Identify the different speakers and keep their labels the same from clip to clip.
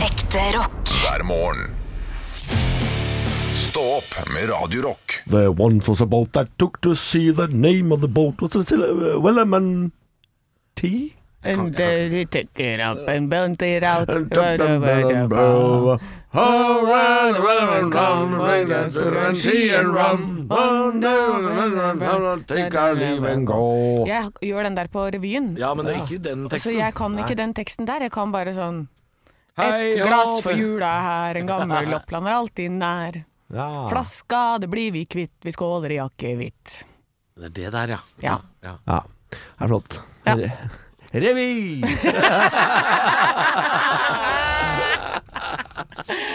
Speaker 1: Ekte rock.
Speaker 2: hver morgen. Stå opp med Radio Rock.
Speaker 3: There once was a boat that took to sea. The name of the boat was a Wellerman T.
Speaker 4: And uh, he took it up and burnt it out.
Speaker 3: Oh, Oh, Nei,
Speaker 4: Jeg gjør den der på revyen.
Speaker 5: Ja, men det er ikke den
Speaker 4: Så
Speaker 5: teksten.
Speaker 4: jeg kan ikke den teksten der. Jeg kan bare sånn
Speaker 5: Hei,
Speaker 4: Et glass
Speaker 5: hopp.
Speaker 4: for jula her, en gammel opplander alltid nær.
Speaker 3: Ah,
Speaker 4: Ah. Flaska, det blir vi kvitt, vi skåler i akevitt.
Speaker 5: Det er det der, ja.
Speaker 4: Ja.
Speaker 5: ja.
Speaker 3: Ja, det ah, er flott.
Speaker 4: Ja.
Speaker 3: Re- Revy!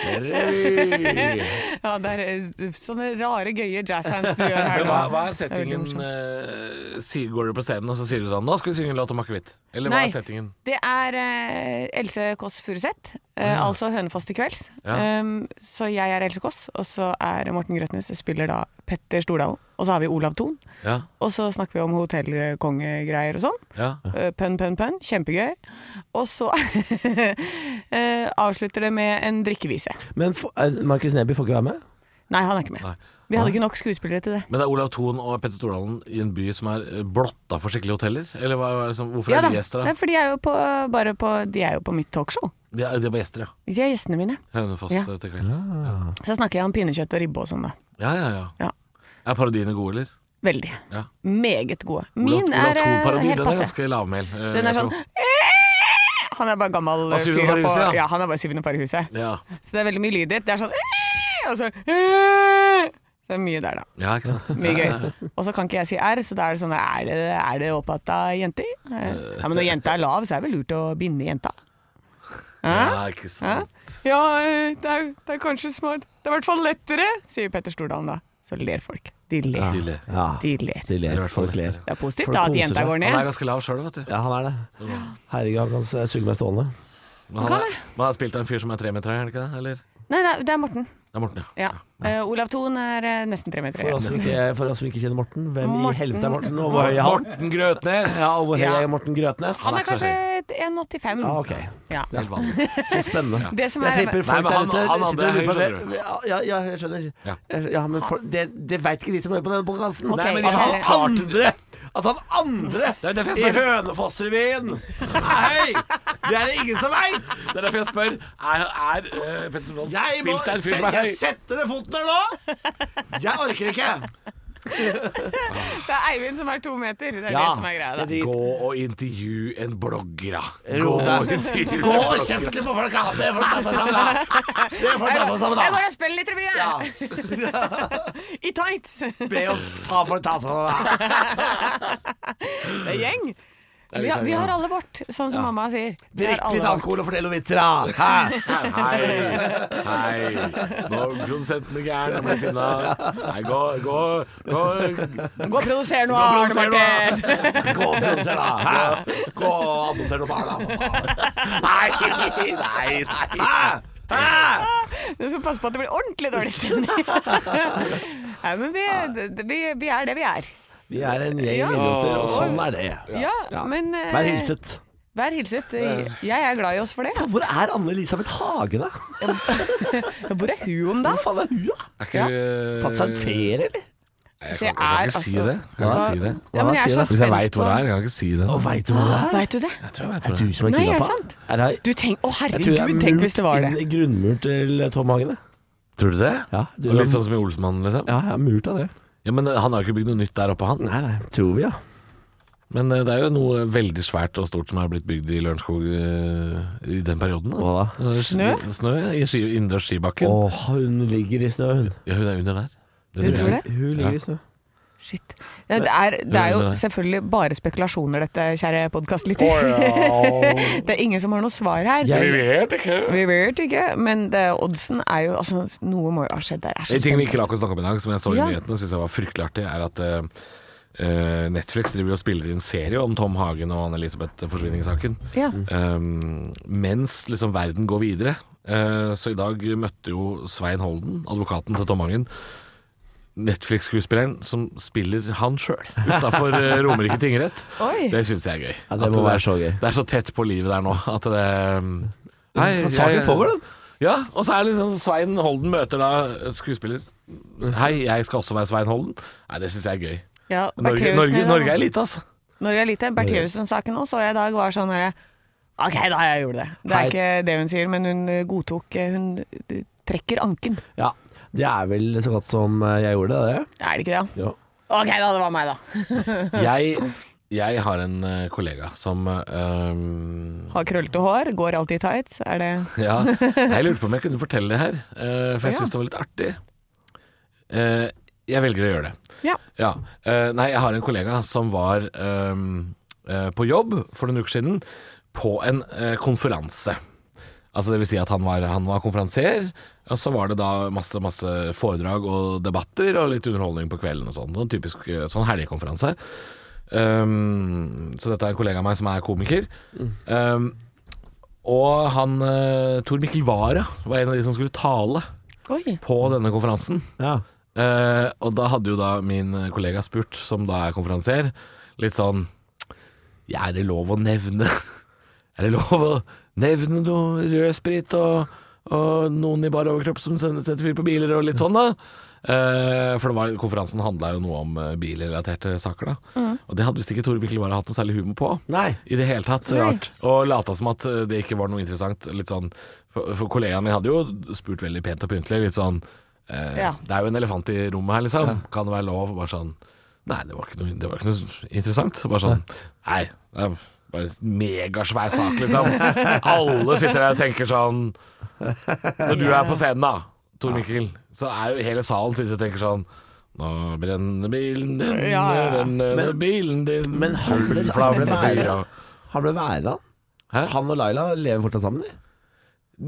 Speaker 3: Revy!
Speaker 4: ja, det er eh, sånne rare, gøye jazzhands du gjør her
Speaker 5: Men
Speaker 4: nå.
Speaker 5: hva, hva er settingen? eh, sier- går dere på scenen og så sier du sånn 'Nå skal vi synge en låt om akevitt'. Eller hva
Speaker 4: Nei.
Speaker 5: er settingen?
Speaker 4: Det er eh, Else Kåss Furuseth, eh, altså Hønefoss til kvelds.
Speaker 5: Ja.
Speaker 4: Um, så jeg er Else Kåss, og så er Morten Grøtnes. Jeg spiller da Petter Stordalen. Og så har vi Olav Thon.
Speaker 5: Ja,
Speaker 4: Og så snakker vi om hotellkongegreier og sånn.
Speaker 5: ja.
Speaker 4: Eh, Pønn, pønn, pønn. Kjempegøy. Og så eh, avslutter det med en drikkevise.
Speaker 3: Men for- eh, Markus Neby får ikke være med?
Speaker 4: Nei, han er ikke med.
Speaker 5: Nei.
Speaker 4: Vi hadde ikke nok skuespillere til det.
Speaker 5: Men det er Olav Thon og Petter Stordalen i en by som er eh, blotta for skikkelige hoteller? Eller hva, hva er det som- hvorfor
Speaker 4: Ja
Speaker 5: er
Speaker 4: da.
Speaker 5: de gjester,
Speaker 4: Nei,
Speaker 5: da?
Speaker 4: for de er jo på, bare på, de er jo på mitt talkshow.
Speaker 5: De er, de er bare gjester, ja.
Speaker 4: De er gjestene mine.
Speaker 5: Hønefoss
Speaker 4: Ja.
Speaker 5: eh, til kvelds.
Speaker 4: Så snakker jeg om pinnekjøtt og ribbe og sånn, da.
Speaker 5: Ja, ja, ja.
Speaker 4: Ja.
Speaker 5: Er parodiene gode, eller?
Speaker 4: Veldig.
Speaker 5: Ja.
Speaker 4: Meget gode.
Speaker 5: Olav-
Speaker 4: Min
Speaker 5: Olav
Speaker 4: er eh,
Speaker 5: Thon-parodien,
Speaker 4: helt
Speaker 5: Den er
Speaker 4: passe.
Speaker 5: ganske lavmæl.
Speaker 4: Den
Speaker 5: eh, jeg
Speaker 4: er sånn
Speaker 5: tror.
Speaker 4: Han er bare gammel
Speaker 5: Og
Speaker 4: eh,
Speaker 5: syvende
Speaker 4: fyr
Speaker 5: par i
Speaker 4: på
Speaker 5: huset, ja.
Speaker 4: Ja, han er bare syvende par i huset.
Speaker 5: Ja.
Speaker 4: Så det er veldig mye lydighet. Det er sånn Og så Det er mye der, da.
Speaker 5: ja, ikke sant.
Speaker 4: Mye gøy. Og så kan ikke jeg si R, så da er det sånn Er det, er det opphatt av jenter? Eh, Ja, men når jenta er lav, så er det vel lurt å binde jenta? Hæ?
Speaker 5: Ja, ikke
Speaker 4: Hæ?
Speaker 5: sant.
Speaker 4: Ja, eh, det er, det er kanskje smart. Det er i hvert fall lettere, sier Petter Stordalen da. Så ler folk. De ler.
Speaker 5: De ler.
Speaker 3: Ja,
Speaker 4: De ler.
Speaker 3: de
Speaker 5: Det er i
Speaker 3: ler.
Speaker 5: hvert fall
Speaker 3: Folk ler.
Speaker 5: lettere.
Speaker 4: Det er positivt
Speaker 3: Folk
Speaker 4: da at
Speaker 3: koser
Speaker 4: jenta
Speaker 3: seg.
Speaker 4: går
Speaker 5: Han er
Speaker 4: ned.
Speaker 5: ganske lav sjøl, vet du.
Speaker 3: Ja, han er det. Herregud, han kan s- suge meg stående.
Speaker 5: Men han, er, man har spilt av en fyr som er tre meter høy, er det ikke det? Eller?
Speaker 4: Nei, det er- det er Morten.
Speaker 5: Det er Morten,
Speaker 4: Ja.
Speaker 5: ja.
Speaker 4: Eh, Olav Thon er eh, nesten tre meter
Speaker 3: For
Speaker 4: høy.
Speaker 3: oss som ikke, for oss som ikke kjenner Morten, hvem
Speaker 4: Morten-
Speaker 3: i helvete er Morten? Og hvor høy er han?
Speaker 5: Morten Grøtnes!
Speaker 3: Ja, og hvor høy
Speaker 4: Ja.
Speaker 3: er Morten Grøtnes?
Speaker 4: Han
Speaker 5: er
Speaker 4: er
Speaker 5: ikke så
Speaker 4: kanskje et 1,85.
Speaker 3: Ja, ok.
Speaker 4: Ja.
Speaker 5: Helt vanlig.
Speaker 3: Så spennende.
Speaker 4: Det som
Speaker 3: Jeg
Speaker 4: er
Speaker 3: tipper
Speaker 5: Nei,
Speaker 3: folk
Speaker 5: men
Speaker 3: der
Speaker 5: han-
Speaker 3: ute
Speaker 5: han
Speaker 3: sitter og
Speaker 5: andre
Speaker 3: lurer på
Speaker 5: er høy,
Speaker 3: det. Ja, ja, ja, jeg skjønner.
Speaker 5: Ja. Altså,
Speaker 3: Ja, men for, det, det veit ikke de som hører på den podkasten.
Speaker 4: Ok,
Speaker 3: men
Speaker 4: jeg
Speaker 3: at han
Speaker 4: skjønner.
Speaker 3: andre At han andre
Speaker 5: Det er derfor
Speaker 3: i
Speaker 5: jeg spør.
Speaker 3: Hønefossrevyen Nei! Det er det ingen som veit!
Speaker 5: Det er derfor jeg spør. Er, er eh, Petter Stordalen
Speaker 3: Jeg må
Speaker 5: spilt av en fyr som er høy?
Speaker 3: jeg setter ned foten her nå! Jeg orker ikke.
Speaker 4: Det er Eivind som er to meter. Det er
Speaker 3: Ja.
Speaker 4: det som er greia.
Speaker 3: Det er
Speaker 4: Da.
Speaker 3: drit.
Speaker 5: Gå og intervju en blogger, da.
Speaker 3: Ro deg.
Speaker 5: intervju
Speaker 3: Gå
Speaker 5: en
Speaker 3: og
Speaker 5: blogger.
Speaker 3: kjefte på folka! Det får de ta seg sammen, da. Det får de ta seg sammen,
Speaker 4: Jeg
Speaker 3: da.
Speaker 4: går og spiller litt revy, jeg. I tights. Det
Speaker 3: Be om ta for ta seg sammen, da.
Speaker 4: er gjeng.
Speaker 5: er
Speaker 4: Vi har,
Speaker 5: litt
Speaker 4: vi har
Speaker 5: gjeng.
Speaker 4: alle vårt, sånn som mamma sier. Vi har
Speaker 3: Drikk
Speaker 4: alle
Speaker 3: litt
Speaker 4: vårt.
Speaker 3: alkohol og fortell noen vitser, da. Hæ?
Speaker 5: Hei, hei. Nå er produsenten gæren og blir sinna. Nei, gå, gå, gå.
Speaker 4: Gå og produser noe,
Speaker 5: Gå og
Speaker 4: Arne
Speaker 5: produser noe.
Speaker 4: Martin.
Speaker 3: Gå og produser, da. Hæ? Gå og adopter noen barn, da. for faen.
Speaker 5: Nei, nei, nei.
Speaker 3: Hæ? Hæ?
Speaker 4: Du skal passe på at det blir ordentlig dårlig stemning. Nei, men vi, det- vi, vi er det vi er.
Speaker 3: Vi er en gjeng
Speaker 4: Ja.
Speaker 3: idioter, og sånn er det.
Speaker 4: Ja, men eh,
Speaker 3: Vær hilset.
Speaker 4: Vær hilset. Jeg er glad i oss for det.
Speaker 3: Faen, Hvor er Anne-Elisabeth Hage, da?
Speaker 4: Hvor er hun om da?
Speaker 3: Hvor faen er hun, da?
Speaker 5: Er ikke du-
Speaker 3: Tatt seg en ferie, eller?
Speaker 5: Jeg
Speaker 4: Så
Speaker 5: kan,
Speaker 4: jeg
Speaker 5: jeg kan
Speaker 4: er
Speaker 5: ikke si
Speaker 4: altså-
Speaker 5: det. Jeg kan ikke si
Speaker 4: Ja,
Speaker 5: det.
Speaker 4: men
Speaker 3: Hva
Speaker 4: jeg er
Speaker 3: sier du?
Speaker 4: så
Speaker 5: Hvis jeg
Speaker 4: spent
Speaker 5: veit
Speaker 4: på
Speaker 5: hvor det er, jeg kan ikke si det.
Speaker 3: Og veit du hvor det er?
Speaker 4: Veit du det?
Speaker 5: Jeg tror jeg
Speaker 3: Er
Speaker 5: vet
Speaker 3: det
Speaker 5: hvor det
Speaker 3: du som er
Speaker 4: Nei, er det
Speaker 3: kidnappa?
Speaker 4: sant?
Speaker 3: Er det
Speaker 4: Du tenk,
Speaker 3: jeg
Speaker 4: Å
Speaker 3: tror det
Speaker 4: herregud,
Speaker 3: er
Speaker 4: tenk hvis det var
Speaker 3: murt
Speaker 4: det.
Speaker 3: inn i grunnmuren til Tom Hagen. det.
Speaker 5: er. Tror du det?
Speaker 3: Ja, du,
Speaker 5: Litt sånn som i Olsmann, liksom?
Speaker 3: ja, ja, murt av det.
Speaker 5: Ja, men eh, han har jo ikke bygd noe nytt der oppe, han.
Speaker 3: Nei, nei, tror vi, ja.
Speaker 5: Men eh, det er jo noe veldig svært og stort som er blitt bygd i Lørenskog eh, i den perioden. Da.
Speaker 3: Hva da?
Speaker 5: Eh,
Speaker 4: Snø?
Speaker 5: s- Snø ja, i ski, innendørs skibakken.
Speaker 3: Åh, hun ligger i snø, hun.
Speaker 5: Ja, hun er under der. Det
Speaker 4: Du
Speaker 5: tror
Speaker 4: tror
Speaker 5: jeg.
Speaker 4: det?
Speaker 3: Hun ligger i snø.
Speaker 4: Shit. Ja, det, er, det er jo
Speaker 5: Nei, nei.
Speaker 4: selvfølgelig bare spekulasjoner, dette, kjære podkastlytter. det er ingen som har noe svar her.
Speaker 3: Jeg,
Speaker 4: Vi vet ikke, men det, oddsen er jo altså, Noe må jo ha skjedd der. Jeg er så
Speaker 5: En ting vi ikke
Speaker 4: spent,
Speaker 5: rakk å snakke om i dag, som jeg så i
Speaker 4: Ja.
Speaker 5: nyhetene og syntes jeg var fryktelig artig, er at eh, eh, Netflix driver jo og spiller inn serie om Tom Hagen og Anne-Elisabeth forsvinningssaken.
Speaker 4: altså. Ja.
Speaker 5: Um, mens liksom verden går videre. Eh, så i dag møtte jo Svein Holden, advokaten til Tom Hangen, Netflix-skuespilleren som spiller han sjøl utafor Romerike tingrett.
Speaker 4: Oi.
Speaker 5: Det syns jeg er gøy.
Speaker 3: Ja, det
Speaker 5: At
Speaker 3: må
Speaker 5: er-
Speaker 3: være så gøy.
Speaker 5: Det er så tett på livet der nå at det um,
Speaker 3: Saken pågår, den.
Speaker 5: Ja, og så er det liksom Svein Holden møter da skuespiller. Hei, jeg skal også være Svein Holden. Nei, det syns jeg er gøy.
Speaker 4: Ja,
Speaker 5: Norge,
Speaker 4: Bertheussen i
Speaker 5: Norge,
Speaker 4: dag.
Speaker 5: Norge er lite, altså.
Speaker 4: Norge er lite. Bertheussen-saken òg så jeg i dag var sånn herre Ok, da jeg gjorde det. Det
Speaker 3: Hei.
Speaker 4: er ikke det hun sier, men hun eh, godtok eh, Hun eh, trekker anken.
Speaker 3: Ja, det er vel så godt som eh, jeg gjorde det, det.
Speaker 4: Er det ikke det?
Speaker 3: Ja.
Speaker 4: Ok, da. Det var meg, da.
Speaker 5: Jeg, jeg har en eh, kollega som eh,
Speaker 4: Har krøllete hår, går alltid i tights. Er det
Speaker 5: Ja, jeg lurte på om jeg kunne fortelle det her, eh, for jeg
Speaker 4: Ja.
Speaker 5: syns det var litt artig. Eh, jeg velger å gjøre det.
Speaker 4: Ja.
Speaker 5: Ja. Eh, nei, jeg har en kollega som var ehm, eh, på jobb for noen uker siden på en eh, konferanse. Altså det vil si at han var, han var konferansier, og så var det da masse, masse foredrag og debatter og litt underholdning på kvelden og sånn. Sånn typisk eh, sånn helgekonferanse. Ehm, så dette er en kollega av meg som er komiker.
Speaker 4: Mm.
Speaker 5: Ehm, og han eh, Tor Mikkel Wara var en av de som skulle tale
Speaker 4: Oi.
Speaker 5: på denne konferansen.
Speaker 3: Ja.
Speaker 5: Eh, og da hadde jo da min kollega spurt, som da er konferansier, litt sånn Ja, er det lov å nevne Er det lov å nevne noe rødsprit og, og noen i bar overkropp som sender- setter fyr på biler og litt sånn, da? Eh, for det var, konferansen handla jo noe om eh, bilrelaterte saker, da. Og det hadde visst ikke Tore Mikkel Wara hatt noe særlig humor på.
Speaker 3: Nei.
Speaker 5: I det hele tatt.
Speaker 3: Nei. Rart.
Speaker 5: Og lata som at eh, det ikke var noe interessant. Litt sånn, for, for kollegaen min hadde jo spurt veldig pent og pyntelig. Litt sånn eh,
Speaker 4: Ja.
Speaker 5: Det er jo en elefant i rommet her, liksom. Kan det være lov? Bare sånn Nei, det var ikke noe, det var ikke noe interessant. Bare sånn Nei. det er bare en megasvær sak, liksom. Alle sitter der og tenker sånn Når du er på scenen, da, Tor Mikkel, så er jo hele salen sitter og tenker sånn nå brenner bilen din,
Speaker 4: Ja, ja, ja.
Speaker 5: brenner
Speaker 3: Men-
Speaker 5: bilen din
Speaker 3: Men han ble,
Speaker 5: Full
Speaker 3: han ble
Speaker 5: flamme fyr,
Speaker 3: værende.
Speaker 5: og-
Speaker 3: Han ble værende.
Speaker 5: Hæ?
Speaker 3: Han og Laila lever fortsatt sammen, de.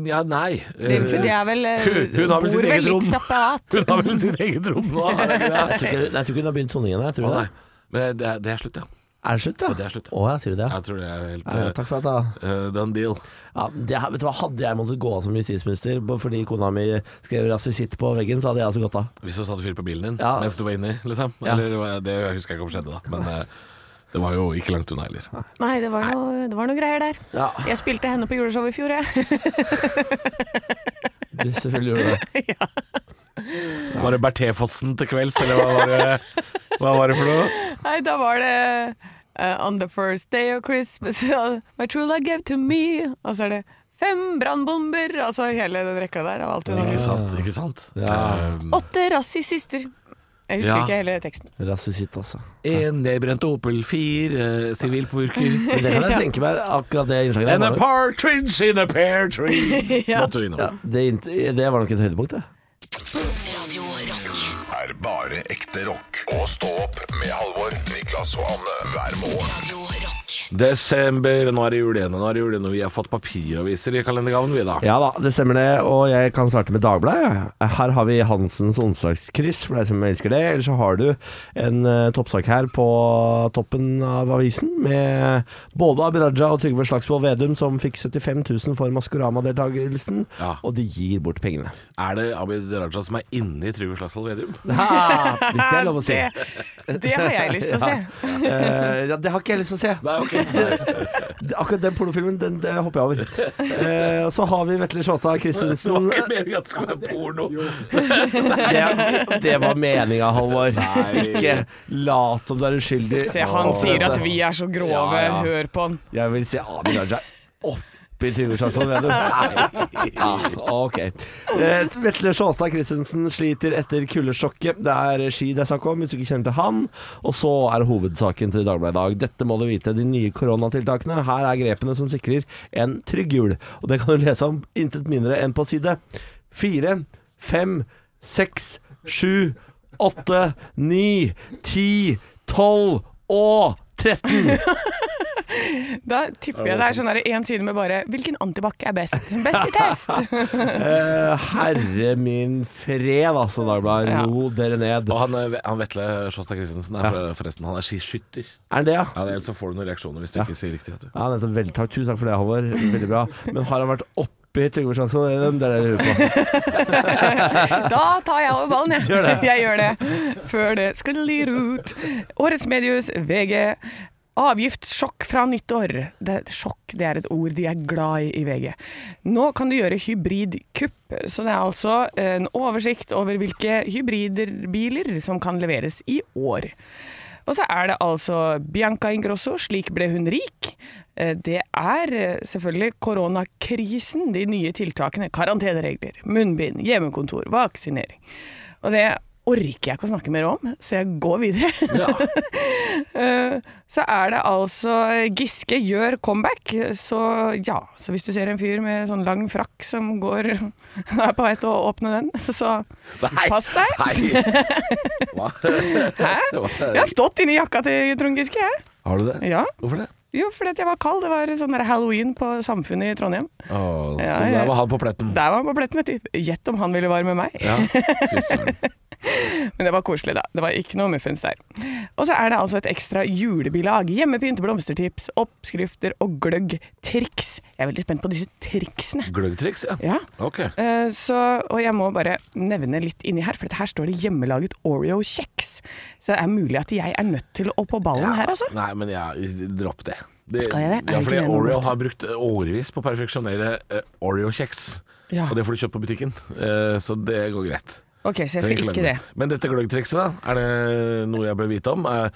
Speaker 5: Ja, nei.
Speaker 4: Det,
Speaker 5: Eh,
Speaker 4: det er vel eh,
Speaker 5: Hun- hun har vel sitt
Speaker 4: bor
Speaker 5: eget rom.
Speaker 4: litt separat.
Speaker 5: Hun har vel sitt eget rom nå? har hun ikke
Speaker 3: Jeg tror
Speaker 5: det?
Speaker 3: ikke, nei, jeg tror ikke hun har begynt soningen. Jeg tror
Speaker 5: Å,
Speaker 3: det.
Speaker 5: nei. Men det er, det er slutt, ja.
Speaker 3: Er det slutt, ja?
Speaker 5: det er slutt, ja.
Speaker 3: Å ja, sier du det? Ja.
Speaker 5: Jeg tror det er helt
Speaker 3: Ja, ja,
Speaker 5: eh,
Speaker 3: takk for at da
Speaker 5: eh, done deal.
Speaker 3: ja, det, her- Vet du hva, Hadde jeg måttet gå av som justisminister på- fordi kona mi skrev rasisitt på veggen, så hadde jeg altså gått av.
Speaker 5: Hvis du satte fyr på bilen din
Speaker 3: Ja.
Speaker 5: mens du var inni, liksom.
Speaker 3: Ja.
Speaker 5: Eller, hva- det husker jeg ikke om skjedde, da. Men eh, det var jo ikke langt unna heller.
Speaker 4: Nei, det var noe, det var noe greier der.
Speaker 3: Ja,
Speaker 4: Jeg spilte henne på juleshowet i fjor, jeg.
Speaker 3: det selvfølgelig gjorde du det.
Speaker 5: Var det Bertéfossen til kvelds, eller hva var det, hva var det for noe?
Speaker 4: Nei, da var det eh, On the first day of Christmas My true love gave to me Og så er det fem brannbomber Altså hele den rekka der av alt hun
Speaker 5: Ikke
Speaker 4: hadde
Speaker 5: sant. ikke sant
Speaker 3: Ja.
Speaker 5: Eh,
Speaker 4: Åtte rassisister Jeg husker
Speaker 5: Ja.
Speaker 4: ikke hele teksten
Speaker 3: Rasisitt, altså.
Speaker 5: En nedbrent Opel, fire eh, sivilpurker
Speaker 3: Men det kan jeg tenke meg, akkurat det innslaget
Speaker 5: And a
Speaker 3: der. var-
Speaker 5: partridge in a pear tree. Måtte du innom.
Speaker 3: Ja, det, inn- det var nok et høydepunkt, det.
Speaker 1: Radio Rock.
Speaker 2: Er bare ekte rock. Og stå opp med Halvor, Niklas og Anne hver morgen.
Speaker 1: Radio Rock.
Speaker 5: Desember, nå er det jul igjen, og nå er det jul igjen, og vi har fått papiraviser i kalendergaven, vi da.
Speaker 3: Ja da, det stemmer det. Og jeg kan starte med Dagbladet. jeg. Her har vi Hansens onsdagskryss, for deg som elsker det. Eller så har du en eh, toppsak her på toppen av avisen, med både Abid Raja og Trygve Slagsvold Vedum, som fikk 75 000 for Maskorama-deltakelsen.
Speaker 5: Ja.
Speaker 3: Og de gir bort pengene.
Speaker 5: Er det Abid Raja som er inne i Trygve Slagsvold Vedum?
Speaker 3: Ha, hvis det er lov å si.
Speaker 4: det, det har jeg lyst til å se
Speaker 3: Eh, ja, det har ikke jeg lyst til å se. Det- Akkurat den pornofilmen den, det hopper jeg over. Eh, så har vi Vetle Sjåstad
Speaker 5: Det var
Speaker 3: Christensen.
Speaker 5: ikke meningen at det skulle være porno.
Speaker 3: Det, det var meninga, Halvor. Ikke lat som du er uskyldig.
Speaker 4: Se, han
Speaker 3: Åh,
Speaker 4: sier
Speaker 3: dette.
Speaker 4: at vi er så grove
Speaker 5: Ja, ja.
Speaker 4: Hør på han
Speaker 3: Jeg vil se Abid Raja oppi Trygve Slagsvold Vedum. Nei. Ah, ok. Eh, Vetle Sjåstad Christensen sliter etter kuldesjokket. Det er ski det er snakk om, hvis du ikke kjenner til han. Og så er hovedsaken til Dagbladet i dag. Dette må du vite, de nye koronatiltakene. Her er grepene som sikrer en trygg jul. Og det kan du lese om intet mindre enn på side fire, fem, seks, sju, åtte, ni, ti, tolv og 13.
Speaker 4: Da tipper jeg det er sånn der En side med bare Hvilken antibac er best? Best i test
Speaker 3: Eh, herre min fred, altså, Dagbladet.
Speaker 4: Ja.
Speaker 3: Ro dere ned.
Speaker 5: Og han, eh, han Vetle Sjåstad Christensen er for- forresten han er skiskytter.
Speaker 3: Er det det, ja?
Speaker 5: Ja, det- Ellers så får du noen reaksjoner hvis du ikke sier riktig. Vet du.
Speaker 3: Ja, nettopp. Vel, takk. Tusen takk for det, Halvor. Veldig bra. Men har han vært oppi Trygve Slagsvold Vedum? Det er det jeg lurer på.
Speaker 4: Da tar jeg over ballen, jeg.
Speaker 3: Gjør det.
Speaker 4: Jeg gjør det. Før det sklir ut. Årets mediehus, VG. Avgiftssjokk fra nyttår. Det, sjokk det er et ord de er glad i i VG. Nå kan du gjøre hybridkupp, så det er altså en oversikt over hvilke hybridbiler som kan leveres i år. Og så er det altså Bianca Ingrosso, slik ble hun rik. Eh, Det er eh, selvfølgelig koronakrisen, de nye tiltakene, karanteneregler, munnbind, hjemmekontor, vaksinering. Og det orker jeg ikke å snakke mer om, så jeg går videre. Eh, Så er det altså Giske gjør comeback, så ja. Så hvis du ser en fyr med sånn lang frakk som går er på vei til å åpne den, så
Speaker 5: Nei.
Speaker 4: pass deg.
Speaker 5: Nei. Hva?
Speaker 4: Jeg
Speaker 5: Hæ?
Speaker 4: har stått inni jakka til Trond Giske, jeg.
Speaker 5: Har du det?
Speaker 4: Ja.
Speaker 5: Hvorfor det?
Speaker 4: Jo, fordi at jeg var kald. Det var sånn der halloween på Samfunnet i Trondheim.
Speaker 5: Åh,
Speaker 4: Ja,
Speaker 5: Der
Speaker 4: ja.
Speaker 5: var han på pletten.
Speaker 4: Der var han på pletten, vet du. Gjett om han ville være med meg.
Speaker 5: Ja. Fy søren.
Speaker 4: Men det var koselig, da. Det var ikke noe muffins der. Og så er det altså et ekstra julebilag. Hjemmepynte blomstertips, oppskrifter og gløgg. Triks. Jeg er veldig spent på disse triksene.
Speaker 5: Gløggtriks, ja.
Speaker 4: Ja.
Speaker 5: Ok.
Speaker 4: Eh, Så, og jeg må bare nevne litt inni her, for dette her står det hjemmelaget Oreo-kjeks. Så det er mulig at jeg er nødt til å på ballen her, altså.
Speaker 5: Nei, men ja, dropp det. det
Speaker 4: Skal jeg det? Er
Speaker 5: Ja,
Speaker 4: det
Speaker 5: fordi
Speaker 4: ikke det noe
Speaker 5: Oreo
Speaker 4: godt?
Speaker 5: har brukt eh, årevis på å perfeksjonere eh, Oreo-kjeks.
Speaker 4: Ja.
Speaker 5: Og det får du kjøpt på butikken, eh, så det går greit.
Speaker 4: Ok, så jeg skal
Speaker 5: Trenger
Speaker 4: ikke
Speaker 5: glemme
Speaker 4: det.
Speaker 5: Men dette gløggtrikset, da? Er det noe jeg bør vite om? Eh,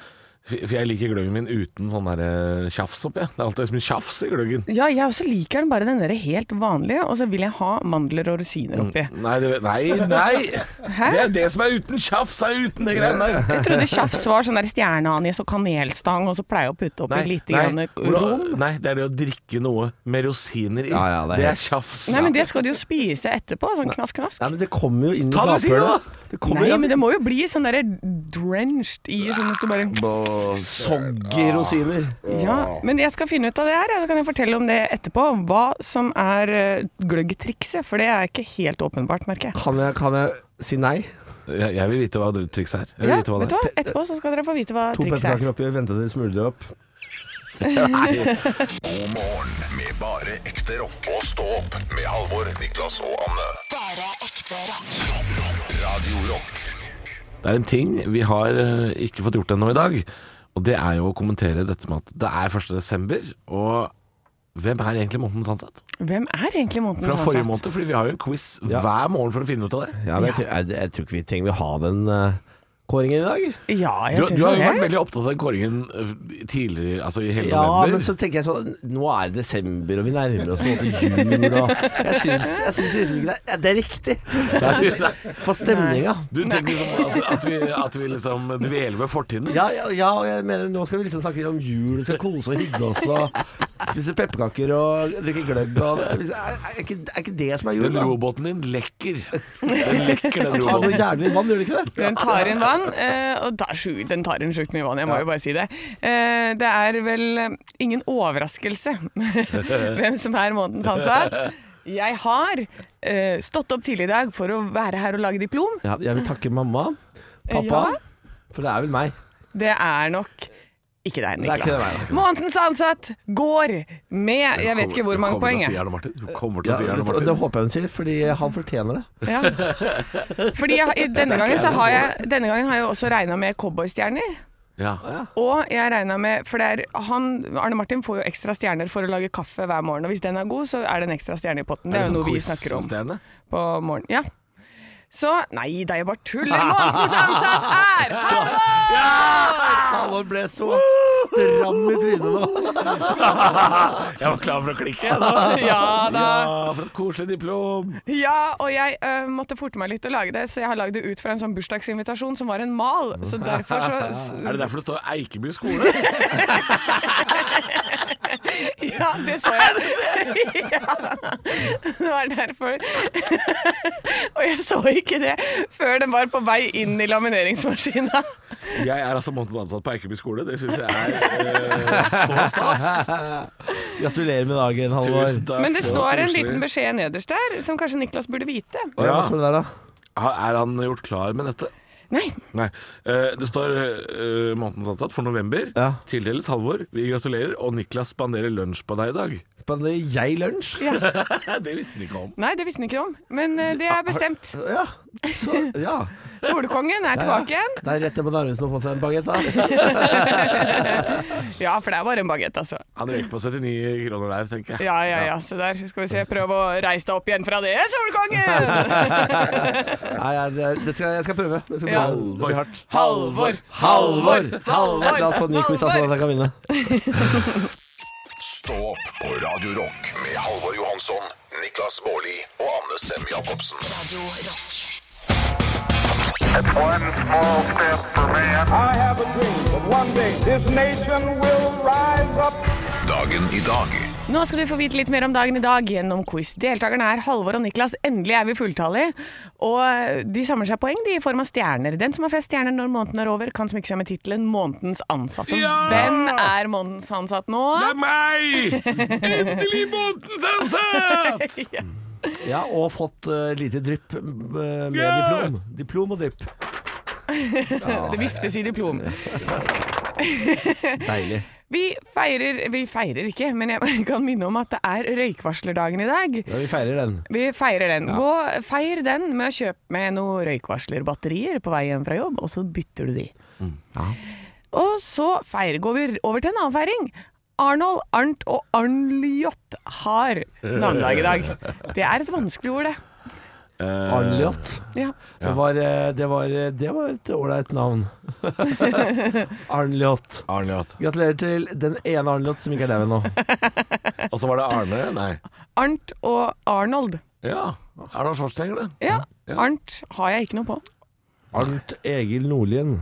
Speaker 5: For for jeg liker gløggen min uten sånn der eh, tjafs oppi. Det er alltid så mye tjafs i gløggen.
Speaker 4: Ja, jeg også liker den bare den der helt vanlige, og så vil jeg ha mandler og rosiner oppi.
Speaker 5: Nei, det, nei, nei! Det er det som er uten tjafs, er uten det greiene der.
Speaker 4: Jeg trodde tjafs var sånn der stjerneanis og kanelstang, og så pleier jeg å putte oppi litt grann rom.
Speaker 5: Hvordan- nei, det er det å drikke noe med rosiner i.
Speaker 3: Ja, ja, det er
Speaker 5: det er
Speaker 3: helt-
Speaker 5: tjafs.
Speaker 4: Nei, men det skal du jo spise etterpå, sånn knask-knask.
Speaker 3: Nei, men det kommer jo inn i
Speaker 5: Ta det ved siden av,
Speaker 3: gaphullet.
Speaker 5: da.
Speaker 3: Det kommer
Speaker 4: Nei,
Speaker 3: jo
Speaker 4: men det må jo bli sånn derre drenched i, sånn at du bare
Speaker 3: soggy rosiner.
Speaker 4: Ja, men jeg skal finne ut av det her, ja, så kan jeg fortelle om det etterpå. Hva som er eh, gløggtrikset, for det er ikke helt åpenbart, merker jeg.
Speaker 3: Kan jeg, kan jeg si nei?
Speaker 5: Jeg, jeg vil vite hva det trikset er. Jeg vil
Speaker 4: Ja, vet
Speaker 5: vite
Speaker 4: du
Speaker 5: hva det
Speaker 4: hva? Etterpå så skal dere få vite hva
Speaker 3: To
Speaker 4: trikset er.
Speaker 3: pepperkaker oppi, vente til de smuldrer opp.
Speaker 2: God morgen med bare ekte rock. Og stå opp med Halvor, Niklas og Anne.
Speaker 1: Bare ekte rock.
Speaker 2: Rock, rock, Radio Rock.
Speaker 5: Det er en ting vi har eh, ikke fått gjort ennå i dag, og det er jo å kommentere dette med at det er 1. desember, og hvem er egentlig månedens ansatt?
Speaker 4: Hvem er egentlig sånn månedens
Speaker 5: Fra forrige
Speaker 4: ansatt?
Speaker 5: måned, fordi vi har jo en quiz
Speaker 3: Ja.
Speaker 5: hver morgen for å finne ut av det.
Speaker 3: Ja, men jeg, tror- jeg, jeg tror ikke vi trenger å ha den eh, kåringen i dag.
Speaker 4: Ja,
Speaker 5: Du,
Speaker 4: jeg
Speaker 5: du
Speaker 4: syns
Speaker 5: har jo
Speaker 4: jo
Speaker 5: vært
Speaker 4: det.
Speaker 5: veldig opptatt av kåringen eh, tidligere, altså i hele
Speaker 3: Ja, men
Speaker 5: november.
Speaker 3: så tenker jeg sånn Nå er det desember, og vi nærmer oss på en måte jul, og Jeg syns, jeg syns liksom ikke det er, det er riktig. Jeg syns- For stemninga.
Speaker 5: Du tenker liksom at, at, vi, at vi liksom dveler ved fortiden.
Speaker 3: Ja, ja, ja, og jeg mener nå skal vi liksom snakke litt om jul, vi skal kose og hygge oss og spise pepperkaker og drikke gløgg og er, liksom, er, ikke, er ikke det som er jul,
Speaker 5: Den
Speaker 3: da?
Speaker 5: robåten din lekker. Den lekker, den
Speaker 3: Ta noe
Speaker 5: robåten.
Speaker 3: jævlig vann, gjør det ikke det?
Speaker 4: Den tar inn vann, eh, og tar sju- den tar inn sjukt mye vann, jeg må jo bare si det. Eh, Det er vel eh, ingen overraskelse hvem som er månedens ansatt. Jeg har eh, stått opp tidlig i dag for å være her og lage diplom.
Speaker 3: Ja, jeg vil takke mamma, pappa,
Speaker 4: Ja.
Speaker 3: for det er vel meg.
Speaker 4: Det er nok ikke deg,
Speaker 3: Det er ikke det
Speaker 4: Niklas.
Speaker 3: meg, da.
Speaker 4: Månedens ansatt går med Jeg vet ikke hvor mange
Speaker 5: Du kommer
Speaker 4: poeng.
Speaker 5: til å si
Speaker 4: jeg.
Speaker 5: Arne Martin. Du kommer til
Speaker 3: Ja,
Speaker 5: å si Arne
Speaker 3: det,
Speaker 5: Martin.
Speaker 3: det håper jeg hun sier, fordi han fortjener det.
Speaker 4: Ja. Fordi jeg, i denne, gangen så har jeg, denne gangen har jeg også regna med cowboystjerner.
Speaker 5: Ja.
Speaker 4: Og jeg regna med For det er, han, Arne Martin får jo ekstra stjerner for å lage kaffe hver morgen. Og hvis den er god, så er det en ekstra stjerne i potten.
Speaker 5: sånn
Speaker 4: Det er jo noe vi snakker om
Speaker 5: Quiz-stjerne?
Speaker 4: på morgenen. Ja. Så Nei, det er jo bare tull! Månedens ansatt er Halvor!
Speaker 3: Halvor ble så stram i trynet nå.
Speaker 5: Jeg var klar for å klikke, jeg da.
Speaker 4: Ja da.
Speaker 5: Ja, for et koselig diplom.
Speaker 4: Ja, og jeg eh, måtte forte meg litt å lage det, så jeg har lagd det ut fra en sånn bursdagsinvitasjon som var en mal. Så derfor så
Speaker 5: Er det derfor det står Eikeby skole?
Speaker 4: Ja, det så jeg. ja. Det var derfor. og jeg så ikke det før den var på vei inn i lamineringsmaskina.
Speaker 5: Jeg er altså månedens ansatt på Eikeby skole. Det syns jeg er eh, så stas.
Speaker 3: Gratulerer med dagen, Halvor.
Speaker 5: Tusen takk.
Speaker 4: Men det
Speaker 5: Ja,
Speaker 4: står en
Speaker 5: koselig.
Speaker 4: liten beskjed nederst der, som kanskje Niklas burde vite.
Speaker 3: Å, ja, Hva står det der, da?
Speaker 5: Ha- Er han gjort klar med dette?
Speaker 4: Nei.
Speaker 5: Nei. Eh, Det står eh, månedens ansatt for november.
Speaker 3: Ja.
Speaker 5: Tildeles Halvor. Vi gratulerer. Og Niklas spanderer lunsj på deg i dag.
Speaker 3: Spanderer jeg lunsj?
Speaker 5: Det visste han ikke om.
Speaker 4: Nei, det visste han ikke om. Men eh, det er bestemt.
Speaker 3: Ja, så, ja.
Speaker 4: Solkongen er tilbake igjen.
Speaker 3: Det er rett ned på Narvesen å få seg en bagett, da.
Speaker 4: Ja, for det er bare en bagett, altså.
Speaker 5: Han røyker på 79 kroner der, tenker jeg.
Speaker 4: Ja, ja, ja. Se der. Skal vi se. Prøv å reise deg opp igjen fra det, Solkongen!
Speaker 3: Nei, jeg, det- det skal, jeg skal prøve. Jeg skal prøve.
Speaker 4: Ja.
Speaker 3: Det blir hardt.
Speaker 4: Halvor!
Speaker 3: Halvor! Halvor! La oss få en ny quiz, altså, sånn at jeg kan vinne.
Speaker 2: Stå opp på Radio Rock med Halvor Johansson, Niklas Baarli og Anne Sem Jacobsen.
Speaker 1: Radio Rock.
Speaker 6: One small step for man.
Speaker 7: I have a dream that one day this nation will rise up.
Speaker 2: Dagen i dag
Speaker 4: Nå skal du få vite litt mer om dagen i dag gjennom quiz. Deltakerne er Halvor og Niklas. Endelig er vi fulltallige. Og de samler seg poeng de i form av stjerner. Den som har flest stjerner når måneden er over, kan smykke seg med tittelen 'Månedens ansatt'. Og
Speaker 5: Ja!
Speaker 4: hvem er månedens ansatt nå?
Speaker 5: Det er meg! Endelig månedens ansatt!
Speaker 3: Ja, og fått eh, lite drypp eh, med
Speaker 5: Yeah!
Speaker 3: diplom. Diplom og drypp.
Speaker 4: Det viftes i diplom.
Speaker 3: Deilig.
Speaker 4: Vi feirer Vi feirer ikke, men jeg kan minne om at det er røykvarslerdagen i dag.
Speaker 3: Ja, vi feirer den.
Speaker 4: Vi feirer den. Gå, feir den med å kjøpe med noen røykvarslerbatterier på vei hjem fra jobb, og så bytter du de. Og så feir, går vi over til en annen feiring. Arnold, Arnt og Arnljot har navnedag i dag. Det er et vanskelig ord, det.
Speaker 5: Eh,
Speaker 3: Eh, Arnljot.
Speaker 4: Ja.
Speaker 3: Det var, eh, det var, eh, det var et ålreit navn. Arnljot.
Speaker 5: Arne Jått.
Speaker 3: Gratulerer til den ene Arnljot som ikke er deg ennå.
Speaker 5: Og så Altså, var det Arne Nei.
Speaker 4: Arnt og Arnold.
Speaker 5: Ja. Arnold Schwarzenegger, det.
Speaker 4: Ja, Arnt har jeg ikke noe på.
Speaker 3: Arnt Egil Nordlien.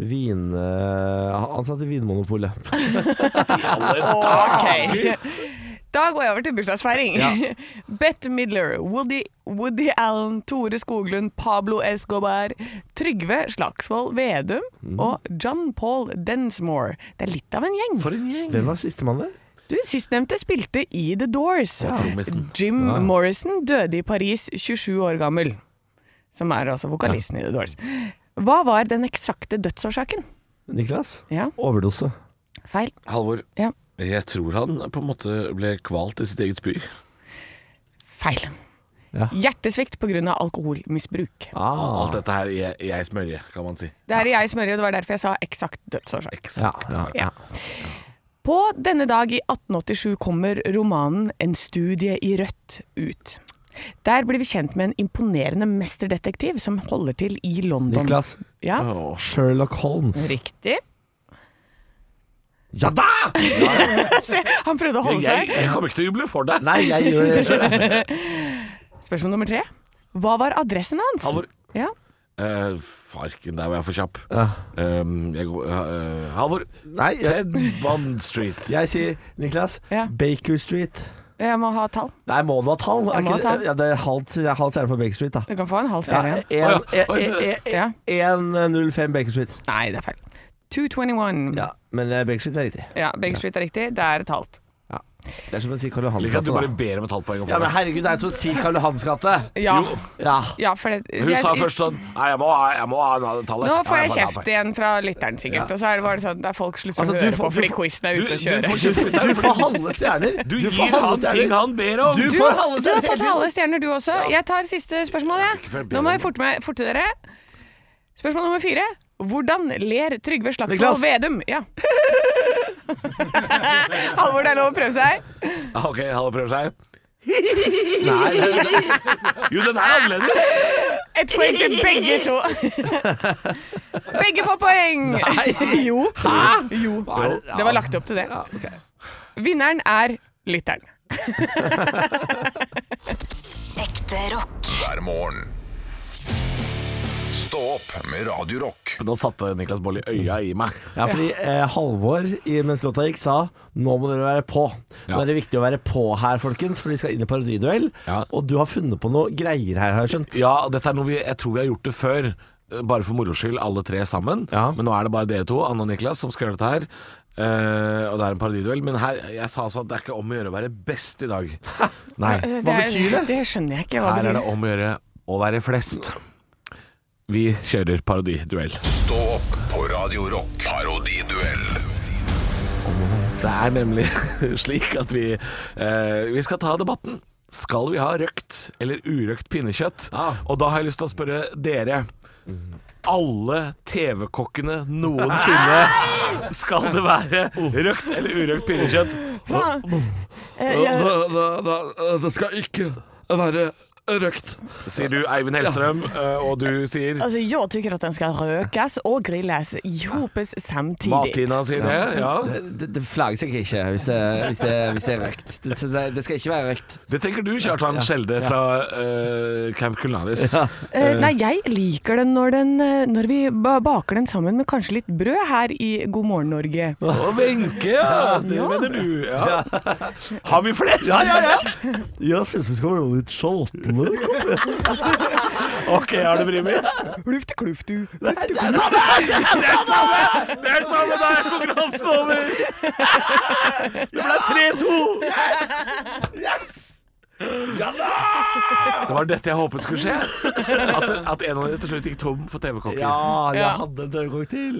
Speaker 3: Vin, eh, ansatt i Vinmonopolet.
Speaker 4: Ok. Da går jeg over til bursdagsfeiring. Bette Midler, Woody, Woody Allen, Tore Skoglund, Pablo Escobar, Trygve Slagsvold Vedum
Speaker 5: Mm.
Speaker 4: og John Paul Densmore. Det er litt av en gjeng.
Speaker 5: For en gjeng.
Speaker 3: Hvem var sistemann der?
Speaker 4: Du, Sistnevnte spilte i The Doors.
Speaker 5: Trommisen.
Speaker 4: Jim Morrison døde i Paris 27 år gammel. Som er altså vokalisten i The Doors. Hva var den eksakte dødsårsaken?
Speaker 3: Niklas?
Speaker 4: Ja,
Speaker 3: Overdose.
Speaker 4: feil.
Speaker 5: Halvor,
Speaker 4: Ja,
Speaker 5: jeg tror han på en måte ble kvalt i sitt eget spy.
Speaker 4: feil.
Speaker 3: Ja.
Speaker 4: Hjertesvikt pga. alkoholmisbruk.
Speaker 3: Ah.
Speaker 5: Alt dette her jeg, jeg smørje, kan man si.
Speaker 4: Det her er jeg smørje, og det var derfor jeg sa eksakt dødsårsak.
Speaker 3: Ja, ja, ja.
Speaker 4: På denne dag i 1887 kommer romanen En studie i rødt ut. Der blir vi kjent med en imponerende mesterdetektiv som holder til i London.
Speaker 3: Niklas.
Speaker 4: Ja,
Speaker 5: Åh.
Speaker 3: Sherlock Holmes.
Speaker 4: riktig.
Speaker 3: Ja da!
Speaker 4: Se, han prøvde å holde
Speaker 5: Jeg,
Speaker 4: seg.
Speaker 5: jeg kommer ikke til å juble for deg.
Speaker 3: Nei, jeg gjør det sjøl.
Speaker 4: Spørsmål nummer tre. Hva var adressen hans?
Speaker 5: Halvor.
Speaker 4: Ja,
Speaker 5: Eh, farken, der var jeg for kjapp.
Speaker 3: Ja.
Speaker 5: Ehm, jeg går, eh, Halvor.
Speaker 3: Nei, jeg,
Speaker 5: Ted Bond Street.
Speaker 3: jeg sier Niklas.
Speaker 4: Ja.
Speaker 3: Baker Street.
Speaker 4: jeg må ha tall.
Speaker 3: Nei, må det være tall? Er
Speaker 4: Jeg må
Speaker 3: ikke,
Speaker 4: ha
Speaker 3: det-
Speaker 4: tall.
Speaker 3: ja, det er halvt jeg er halvt stjerne på Baker Street, da.
Speaker 4: Du kan få en halv
Speaker 3: Ja,
Speaker 4: serie.
Speaker 5: ja. Oi,
Speaker 4: Ja.
Speaker 3: 1.05 Baker Street.
Speaker 4: Nei, det er feil. 221.
Speaker 3: Ja, men eh, Baker Street er riktig.
Speaker 4: Ja, Baker Street er riktig. Det er et halvt.
Speaker 3: Det er som å si Karl
Speaker 5: Jeg
Speaker 3: Johans
Speaker 5: liker at du bare
Speaker 3: gate. da.
Speaker 5: ber om et halvt poeng. om
Speaker 3: Ja, men
Speaker 5: det.
Speaker 3: herregud, det er som å si Karl Johans gate.
Speaker 4: Ja,
Speaker 5: Jo.
Speaker 3: Ja.
Speaker 4: ja for det,
Speaker 5: Hun
Speaker 4: jeg-
Speaker 5: sa først sånn Nei, jeg må ha, jeg må ha en- tallet.
Speaker 4: Nå får
Speaker 5: Ja,
Speaker 4: jeg
Speaker 5: et halvt
Speaker 4: kjeft
Speaker 5: poeng.
Speaker 4: igjen fra lytteren, sikkert. Og så er det bare sånn der folk slutter
Speaker 3: Altså, du
Speaker 4: å høre
Speaker 3: får-
Speaker 4: på
Speaker 3: du
Speaker 4: fordi
Speaker 3: får-
Speaker 4: quizen er
Speaker 5: Du,
Speaker 4: ute å
Speaker 5: du får
Speaker 4: kjøre.
Speaker 5: kjeft.
Speaker 3: Du får halve stjerner.
Speaker 5: Du
Speaker 3: får
Speaker 5: gir
Speaker 3: halve
Speaker 5: han
Speaker 3: stjerner.
Speaker 5: ting han ber om.
Speaker 3: Du
Speaker 4: Du,
Speaker 3: får halve
Speaker 4: du har fått
Speaker 3: stjerner.
Speaker 4: halve stjerner, du også. Jeg tar siste spørsmål,
Speaker 5: ikke for
Speaker 4: jeg.
Speaker 5: å be
Speaker 4: Nå må
Speaker 5: om
Speaker 4: jeg forte meg forte dere. Spørsmål nummer fire. Hvordan ler Trygve
Speaker 3: Niklas.
Speaker 4: Slagsvold Vedum? Ja. Halvor, det er lov å prøve seg.
Speaker 5: Ja, OK, Halvor prøver seg.
Speaker 3: Nei, det-
Speaker 5: Jo, den er annerledes.
Speaker 4: Ett poeng til begge to. Begge får poeng.
Speaker 3: Nei.
Speaker 4: Jo. Jo.
Speaker 3: Hva er det? Ja.
Speaker 4: Det var lagt opp til det.
Speaker 3: ja, ok.
Speaker 4: Vinneren er lytteren.
Speaker 1: Ekte rock.
Speaker 2: hver morgen. Stå opp med Radio Rock.
Speaker 5: Nå satte Niklas Baarli øya i meg.
Speaker 3: ja fordi eh, Halvor, i- mens låta gikk, sa nå må dere være på. Nå
Speaker 5: Ja.
Speaker 3: er det viktig å være på her, folkens, for de skal inn i parodiduell.
Speaker 5: Ja.
Speaker 3: Og du har funnet på noe greier her, har jeg skjønt.
Speaker 5: Ja, dette er noe vi, jeg tror vi har gjort det før. eh, Bare for moro skyld, alle tre sammen.
Speaker 3: Ja.
Speaker 5: Men nå er det bare dere to, Anne og Niklas, som skal gjøre dette her. Eh, og det er en parodiduell. Men her, jeg sa altså at det er ikke om å gjøre å være best i dag. Nei.
Speaker 3: Hva
Speaker 4: er-
Speaker 3: betyr det?
Speaker 4: Eh, Det skjønner jeg ikke. Hva
Speaker 5: Her er
Speaker 4: betyr
Speaker 5: det
Speaker 4: det?
Speaker 5: om å gjøre å være flest. Vi kjører parodiduell.
Speaker 2: Stå opp på Radio Rock. Parodiduell.
Speaker 5: Det er nemlig slik at vi eh, Vi skal ta debatten Skal vi ha røkt eller urøkt pinnekjøtt?
Speaker 3: Ah.
Speaker 5: Og da har jeg lyst til å spørre dere. Alle TV-kokkene noensinne Skal det være røkt eller urøkt pinnekjøtt?
Speaker 4: Eh, Jeg,
Speaker 8: det skal ikke være røkt.
Speaker 5: Sier du, Eivind Hellstrøm, eh, og du sier
Speaker 4: altså, jeg tykker at den skal røkes og grilles ihopes samtidig.
Speaker 5: Mat-Tina sier det. Ja.
Speaker 3: Det, Eh, det, det flagges jeg ikke hvis det, hvis det, hvis det er røkt. Det, det, det skal ikke være røkt.
Speaker 5: Det tenker du, Kjartan Skjelde fra eh, Camp Culinaris.
Speaker 3: Ja.
Speaker 4: Eh, nei, jeg liker den når, den eh, når vi ba baker den sammen med kanskje litt brød her i God morgen Norge.
Speaker 5: Og Wenche, ja. Det
Speaker 4: Ja.
Speaker 5: mener du. Ja. Har vi flere? Ja, ja, ja.
Speaker 3: Jeg syns vi skal være litt sjaltne.
Speaker 5: Ok, har du Brimi?
Speaker 4: Klufte, kluftu.
Speaker 5: Det er det samme, da er konkurransen over! Det ble 3-2! Yes! Yes! Ja da! Det var dette jeg håpet skulle skje. At, at en av dere til slutt gikk tom for TV-kokker.
Speaker 3: Ja, jeg hadde en dørkokk til.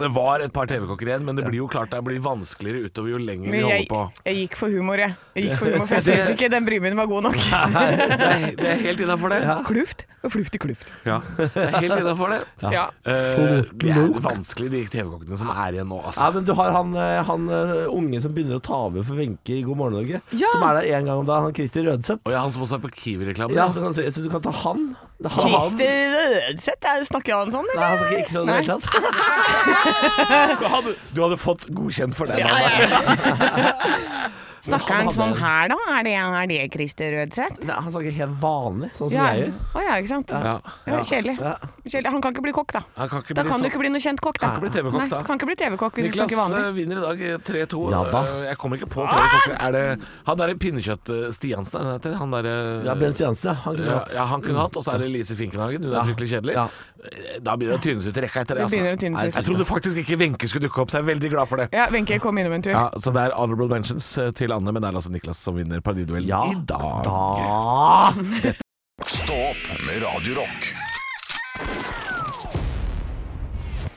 Speaker 5: Det var et par TV-kokker igjen, men det blir jo klart det blir vanskeligere utover jo lenger vi
Speaker 4: Men jeg,
Speaker 5: holder på.
Speaker 4: jeg gikk for humor, jeg. Jeg gikk for humor, For jeg syns ikke den brimen var god nok.
Speaker 5: Nei, det er helt innafor det.
Speaker 4: Kluft og flufte kluft.
Speaker 5: Ja. Det er helt innafor det.
Speaker 4: Ja.
Speaker 5: Eh, det er vanskelig, de TV-kokkene som er igjen nå, altså.
Speaker 3: Ja, men du har han, eh, han eh, unge som begynner å ta over for Wenche i God morgen Norge.
Speaker 4: Ja.
Speaker 3: Som er der én gang om dagen. Han Christer Rødseth.
Speaker 5: Og ja, han som også er på Kiwi-reklame.
Speaker 3: Ja, du kan si, så du kan ta han. Det er han.
Speaker 4: Christer Rødseth, er- snakker han sånn,
Speaker 3: Nei,
Speaker 4: eller?
Speaker 3: han snakker ikke sånn i det hele tatt.
Speaker 5: Du, hadde, du hadde fått godkjent for den.
Speaker 4: Ja,
Speaker 5: Anna.
Speaker 4: ja.
Speaker 3: Men
Speaker 4: Snakker
Speaker 3: han
Speaker 4: han sånn
Speaker 3: hadde-
Speaker 4: her, da? Er det, er det Christer Rødseth?
Speaker 3: Nei, han snakker helt vanlig, sånn som
Speaker 4: Ja.
Speaker 3: jeg gjør.
Speaker 4: Å ja, ikke sant.
Speaker 5: Ja.
Speaker 4: Ja, kjedelig.
Speaker 3: Ja.
Speaker 4: Kjedelig. Han kan ikke bli kokk, da.
Speaker 5: Han kan ikke
Speaker 4: Da
Speaker 5: bli
Speaker 4: kan
Speaker 5: sånn-
Speaker 4: du ikke bli noe kjent kokk, da.
Speaker 5: Kan ikke bli TV-kokk,
Speaker 4: Nei,
Speaker 5: da.
Speaker 4: Kan ikke bli TV-kokk hvis du
Speaker 5: Niklas
Speaker 4: snakker Ah! vanlig.
Speaker 5: eh, vinner i dag eh, 3-2.
Speaker 3: Ja da.
Speaker 5: Eh, Jeg kommer ikke på flere kokker. Er det han derre pinnekjøtt-Stiansen, er det han heter? Han derre
Speaker 3: Ja, Bens Jansen, ja. Han kunne
Speaker 5: ja,
Speaker 3: hatt.
Speaker 5: ja, han kunne hatt. Og så er det Lise Finkenhagen. Hun er
Speaker 3: Ja.
Speaker 5: fryktelig kjedelig.
Speaker 3: Ja.
Speaker 5: Eh, Da begynner det å tynes ut i rekka etter det.
Speaker 4: Det begynner å tynes
Speaker 5: Nei,
Speaker 4: ut.
Speaker 5: Jeg trodde faktisk ikke Wenche skulle dukke opp, så jeg er veldig glad for det.
Speaker 4: Ja, Wenche kom innom en tur.
Speaker 5: Ja, Så det er honorable mentions eh, til Anne, men det er altså Niklas som vinner paradiduellen
Speaker 3: Ja.
Speaker 5: i dag.
Speaker 3: Da
Speaker 2: Stå opp med Radio Rock.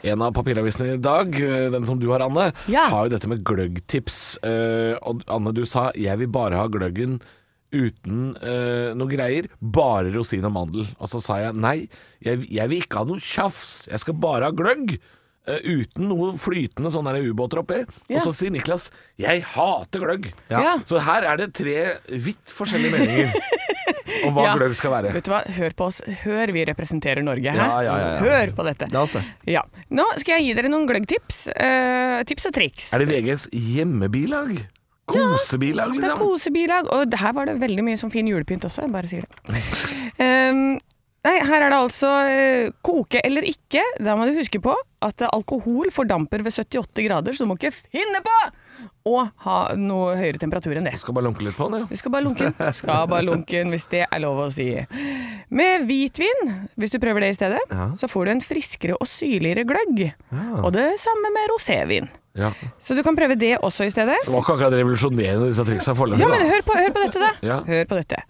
Speaker 5: En av papiravisene i dag, eh, den som du har, Anne,
Speaker 4: Ja.
Speaker 5: har jo dette med gløggtips. Eh, og Anne, du sa 'jeg vil bare ha gløggen uten eh, noe greier', bare rosin og mandel. Og så sa jeg nei, jeg, jeg vil ikke ha noe tjafs, jeg skal bare ha gløgg. eh, uten noe flytende sånn der ubåter oppi.
Speaker 4: Ja.
Speaker 5: Og så sier Niklas 'jeg hater gløgg'.
Speaker 4: Ja.
Speaker 5: Så her er det tre vidt forskjellige meninger om hva
Speaker 4: Ja.
Speaker 5: gløgg skal være.
Speaker 4: Vet du hva, hør på oss. Hør vi representerer Norge. Hæ?
Speaker 3: Ja, ja, ja, ja.
Speaker 4: Hør på dette.
Speaker 3: La oss det.
Speaker 4: Ja. Nå skal jeg gi dere noen gløggtips. eh, tips og triks.
Speaker 5: Er det VGs hjemmebilag? Kosebilag,
Speaker 4: Det er
Speaker 5: liksom?
Speaker 4: kosebilag, og det her var det veldig mye sånn fin julepynt også, jeg bare sier det. Ehm, nei, her er det altså eh, koke eller ikke. Da må du huske på at alkohol fordamper ved 78 grader, så du må ikke finne på å ha noe høyere temperatur enn det.
Speaker 5: Skal bare lunke litt på den, jo.
Speaker 4: Vi skal bare lunken. Skal bare lunken, hvis det er lov å si. Med hvitvin, hvis du prøver det i stedet, så får du en friskere og syrligere gløgg. Og det samme med rosévin.
Speaker 5: Ja.
Speaker 4: Så du kan prøve det også i stedet.
Speaker 5: Det var ikke akkurat revolusjonerende disse triksa foreløpig.
Speaker 4: Ja, men
Speaker 5: da.
Speaker 4: hør på, hør på dette, da.
Speaker 5: Ja.
Speaker 4: Hør på dette.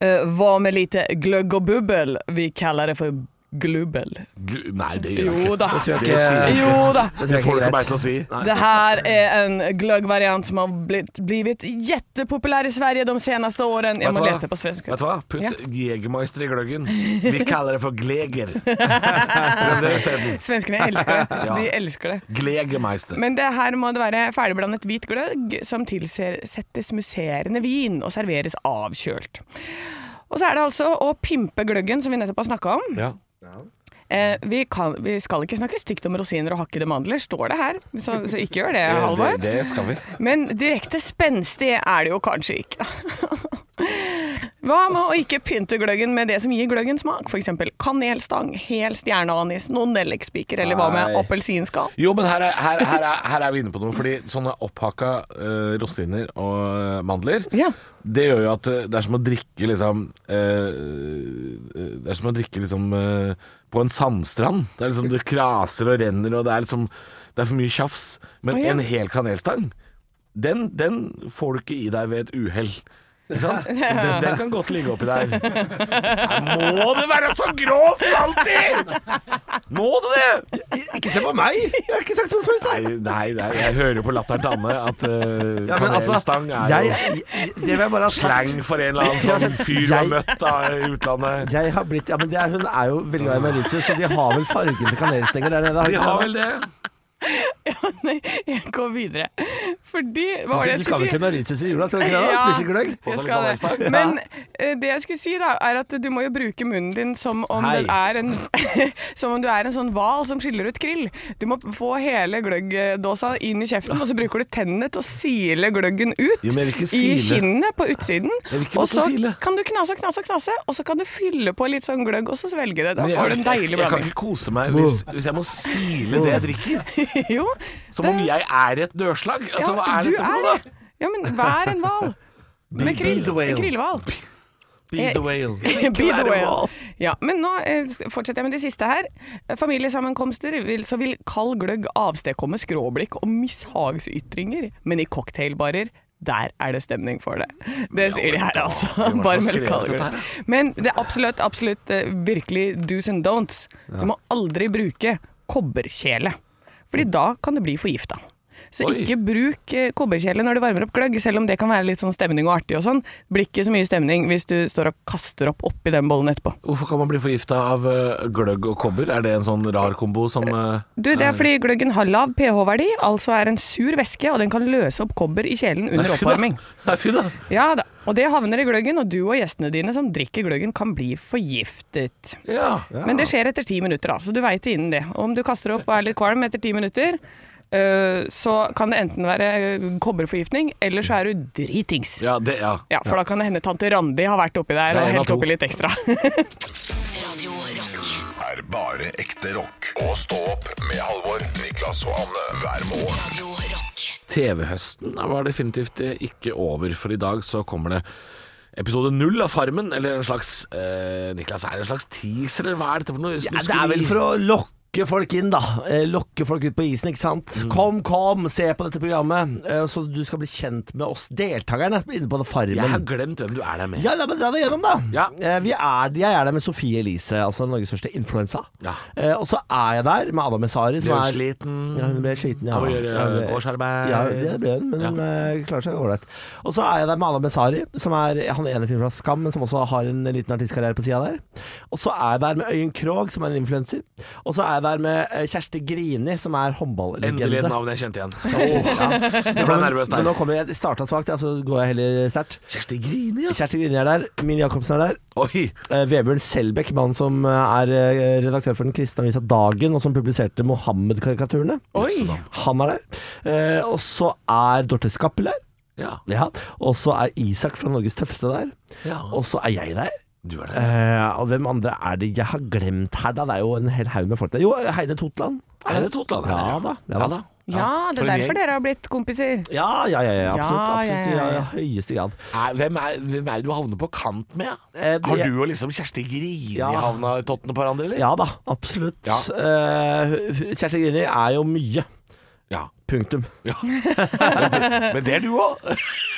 Speaker 4: Eh, hva med lite gløgg og bubbel? Vi kaller det for glubbel.
Speaker 5: Gu- Nei, det gjør jeg
Speaker 4: Jo
Speaker 5: ikke.
Speaker 4: da.
Speaker 3: tror jeg
Speaker 5: Det sier
Speaker 3: ikke
Speaker 5: jeg.
Speaker 4: Jo da.
Speaker 3: tror
Speaker 5: Det får du
Speaker 3: jeg
Speaker 5: ikke
Speaker 3: ikke
Speaker 5: meg til å si.
Speaker 4: Det her er en gløggvariant som har blitt, blivit jättepopulær i Sverige de seneste årene. Jeg
Speaker 5: Vet du
Speaker 4: må
Speaker 5: hva?
Speaker 4: lese det på svenska.
Speaker 5: Vet du hva? Putt
Speaker 4: Ja.
Speaker 5: Jegermeister i gløggen. Vi kaller det for gleger. Prøv det isteden.
Speaker 4: Svenskene elsker det.
Speaker 5: Ja.
Speaker 4: De elsker det.
Speaker 5: Glegermeister.
Speaker 4: Men det her må det være ferdigblandet hvit gløgg som tilsettes musserende vin og serveres avkjølt. Og så er det altså å pimpe gløggen, som vi nettopp har snakka om.
Speaker 5: Ja.
Speaker 4: Eh, vi, kan, vi skal ikke snakke stygt om rosiner og hakkede mandler, står det her. Så, så ikke gjør det,
Speaker 5: Det,
Speaker 4: Halvor.
Speaker 5: det skal vi.
Speaker 4: Men direkte spenstig er det jo kanskje ikke. Hva med å ikke pynte gløggen med det som gir gløggen smak? F.eks. kanelstang, hel stjerneanis, noen nellikspiker, eller hva med
Speaker 3: Nei.
Speaker 4: appelsinskall?
Speaker 5: Jo, men her er, her, her er, her er vi inne på noe. Fordi sånne opphakka eh, rosiner og eh, mandler
Speaker 4: Ja.
Speaker 5: Det gjør jo at eh, det er som å drikke liksom eh, eh, Det er som å drikke liksom eh, på en sandstrand. Det er liksom det kraser og renner, og det er liksom Det er for mye tjafs. Men
Speaker 4: Å, ja.
Speaker 5: en hel kanelstang, den, den får du ikke i deg ved et uhell. Ikke sant? Så den, den kan godt ligge oppi der. Nei, må det være så grovt alltid?! Må det det?!
Speaker 3: Ikke se på meg! Jeg har ikke sagt noe som helst.
Speaker 5: Nei, nei, nei, jeg hører på latteren til Anne at uh,
Speaker 3: Ja, men altså,
Speaker 5: kanelstang er
Speaker 3: jeg,
Speaker 5: jo
Speaker 3: jeg- det vil jeg bare ha sagt.
Speaker 5: slang for en eller
Speaker 3: Ja,
Speaker 5: annen
Speaker 3: men
Speaker 5: sånn fyr du har
Speaker 3: jeg-
Speaker 5: møtt da, i utlandet.
Speaker 3: Jeg har blitt, ja, men det er, Hun er jo veldig glad i Mauritius, så de har vel fargen til kanelstenger der nede?
Speaker 5: De
Speaker 3: ikke
Speaker 5: har
Speaker 3: det?
Speaker 5: vel det?
Speaker 4: Nei, jeg går videre. Fordi Hva var
Speaker 3: du
Speaker 4: det jeg
Speaker 3: skal
Speaker 4: skulle
Speaker 3: vel
Speaker 4: si?
Speaker 3: til Mauritius i jula, skal du ikke det? da?
Speaker 4: Ja.
Speaker 3: Spise gløgg?
Speaker 5: Få
Speaker 4: Jeg
Speaker 5: seg litt
Speaker 4: skal
Speaker 5: kanelstang.
Speaker 4: det. Men eh, det jeg skulle si da, er at du må jo bruke munnen din som om,
Speaker 3: Hei.
Speaker 4: den er en, som om du er en sånn hval som skiller ut krill. Du må få hele gløggdåsa inn i kjeften, og så bruker du tennene til å sile gløggen ut
Speaker 5: Jo, men jeg vil ikke
Speaker 4: i
Speaker 5: sile.
Speaker 4: kinnet på utsiden.
Speaker 5: Jeg vil ikke
Speaker 4: Og
Speaker 5: måtte
Speaker 4: så
Speaker 5: sile.
Speaker 4: kan du knase og knase og knase, og så kan du fylle på litt sånn gløgg, og så svelge det. Da
Speaker 5: Men jeg,
Speaker 4: får du en deilig
Speaker 5: jeg kan
Speaker 4: blanding.
Speaker 5: ikke kose meg hvis, hvis jeg må sile det jeg drikker.
Speaker 4: Jo,
Speaker 5: Som om jeg er et dørslag. Altså, hva er
Speaker 4: du
Speaker 5: dette for noe, da?
Speaker 4: Ja, men vær en hval. Med krill.
Speaker 3: the whale.
Speaker 4: En krillhval.
Speaker 5: Be the whale.
Speaker 4: Be the
Speaker 3: være
Speaker 4: whale.
Speaker 3: hval.
Speaker 4: Ja, men nå eh, fortsetter jeg med det siste her. Familiesammenkomster vil, så vil kald gløgg avstedkomme skråblikk og mishagsytringer, men i cocktailbarer der er det stemning for det. Det sier de her, altså.
Speaker 5: hvem er det som har
Speaker 4: Bare
Speaker 5: skrevet
Speaker 4: melk kald
Speaker 5: dette
Speaker 4: gløgg. Men det er absolutt, absolutt eh, virkelig do's and don'ts. Du må aldri bruke kobberkjele, Fordi da kan du bli forgifta. Så
Speaker 5: Oi.
Speaker 4: ikke bruk eh, kobberkjele når du varmer opp gløgg, selv om det kan være litt sånn stemning og artig og sånn. Det blir ikke så mye stemning hvis du står og kaster opp oppi den bollen etterpå.
Speaker 5: Hvorfor kan man bli forgifta av eh, gløgg og kobber? Er det en sånn rar kombo som eh,
Speaker 4: Du, det er fordi gløggen har lav pH-verdi, altså er en sur væske, og den kan løse opp kobber i kjelen
Speaker 5: Nei,
Speaker 4: under
Speaker 5: fy da.
Speaker 4: oppvarming.
Speaker 5: Nei, fy da.
Speaker 4: Ja da. Og det havner i gløggen, og du og gjestene dine som drikker gløggen kan bli forgiftet.
Speaker 5: Ja.
Speaker 4: Men det skjer etter ti minutter, da, så du veit det innen det. Og om du kaster opp og er litt kvalm etter ti minutter, øh, så kan det enten være øh, kobberforgiftning, eller så er du dritings.
Speaker 5: Ja, det, ja.
Speaker 4: Ja, for da kan det hende tante Randi har vært oppi der og
Speaker 5: Det er en av
Speaker 4: helt
Speaker 5: to.
Speaker 4: oppi litt ekstra.
Speaker 1: Radio Rock.
Speaker 2: er bare ekte rock. Og stå opp med Halvor, Niklas og Anne hver morgen.
Speaker 1: Radio Rock.
Speaker 5: TV-høsten var definitivt eh, ikke over, for i dag så kommer det episode null av Farmen, eller en slags eh, Niklas, er det en slags teaser, eller hva er dette for noe?
Speaker 3: Ja, det er vel for å lokke folk inn, da. Eh, Lokke folk ut på isen, ikke sant.
Speaker 4: Mm.
Speaker 3: Kom, kom, se på dette programmet, eh, så du skal bli kjent med oss deltakerne inne på den
Speaker 5: Jeg har
Speaker 3: Farmen.
Speaker 5: glemt hvem du er der med.
Speaker 3: Ja, la meg dra det gjennom, da.
Speaker 5: Ja.
Speaker 3: Eh, Vi er, jeg er der med Sofie Elise, altså Norges største influensa.
Speaker 5: Ja.
Speaker 3: Eh, Og så er jeg der med Anna Messari, som
Speaker 5: Ble
Speaker 3: er
Speaker 5: hun sliten?
Speaker 3: Ja, hun ble sliten, ja.
Speaker 5: Av å gjøre
Speaker 3: Ja, hun ble-
Speaker 5: årsarbeid?
Speaker 3: Ja, det ble hun, men hun eh, klarer seg ålreit. Og så er jeg der med Anna Messari, som er han ene fyren fra Skam, men som også har en liten artistkarriere på sida der. Og så er jeg der med Øyunn Krogh, som er en influenser. Og så er jeg der med eh, Kjersti Grini, som er
Speaker 5: Endelig et
Speaker 3: håndballegende.
Speaker 5: navn jeg kjente igjen. Åh, Jeg ble nervøs
Speaker 3: Men nå
Speaker 5: der.
Speaker 3: kommer jeg, jeg starta svakt, ja, så går jeg heller sterkt.
Speaker 5: Kjersti Grini, ja.
Speaker 3: Kjersti Grini er der, Min Jacobsen er der.
Speaker 5: Oi.
Speaker 3: Eh, Vebjørn Selbekk, mannen som eh, er eh, redaktør for den kristne avisa Dagen, og som publiserte Mohammed-karikaturene.
Speaker 4: Oi!
Speaker 3: Han er der. Eh, og så er Dorte Skappel der.
Speaker 5: Ja.
Speaker 3: Ja. Og så er Isak fra Norges tøffeste der.
Speaker 5: ja.
Speaker 3: Og så er jeg der.
Speaker 5: Du er der.
Speaker 3: Eh, og hvem andre er det jeg har glemt her, da? Det er jo en hel haug med folk der. Jo, Heide Totland.
Speaker 5: Er det Totland?
Speaker 3: Ja da, ja da.
Speaker 5: Ja da.
Speaker 4: Ja, det
Speaker 5: For
Speaker 4: er
Speaker 5: en
Speaker 4: derfor
Speaker 5: gjeng.
Speaker 4: dere har blitt kompiser.
Speaker 3: Ja, ja, ja, ja absolutt.
Speaker 4: Ja,
Speaker 3: absolutt
Speaker 4: ja, ja, ja.
Speaker 3: I eh, høyeste grad.
Speaker 5: Er- Hvem er, hvem er det du havner på kant med? ja?
Speaker 3: Eh, det-
Speaker 5: Har du og liksom Kjersti Grini
Speaker 3: Ja.
Speaker 5: havna i tottene på hverandre, eller?
Speaker 3: Ja da, absolutt.
Speaker 5: Ja.
Speaker 3: Eh, Kjersti Grini er jo mye.
Speaker 5: Ja.
Speaker 3: Punktum.
Speaker 5: Ja. Men det er du òg.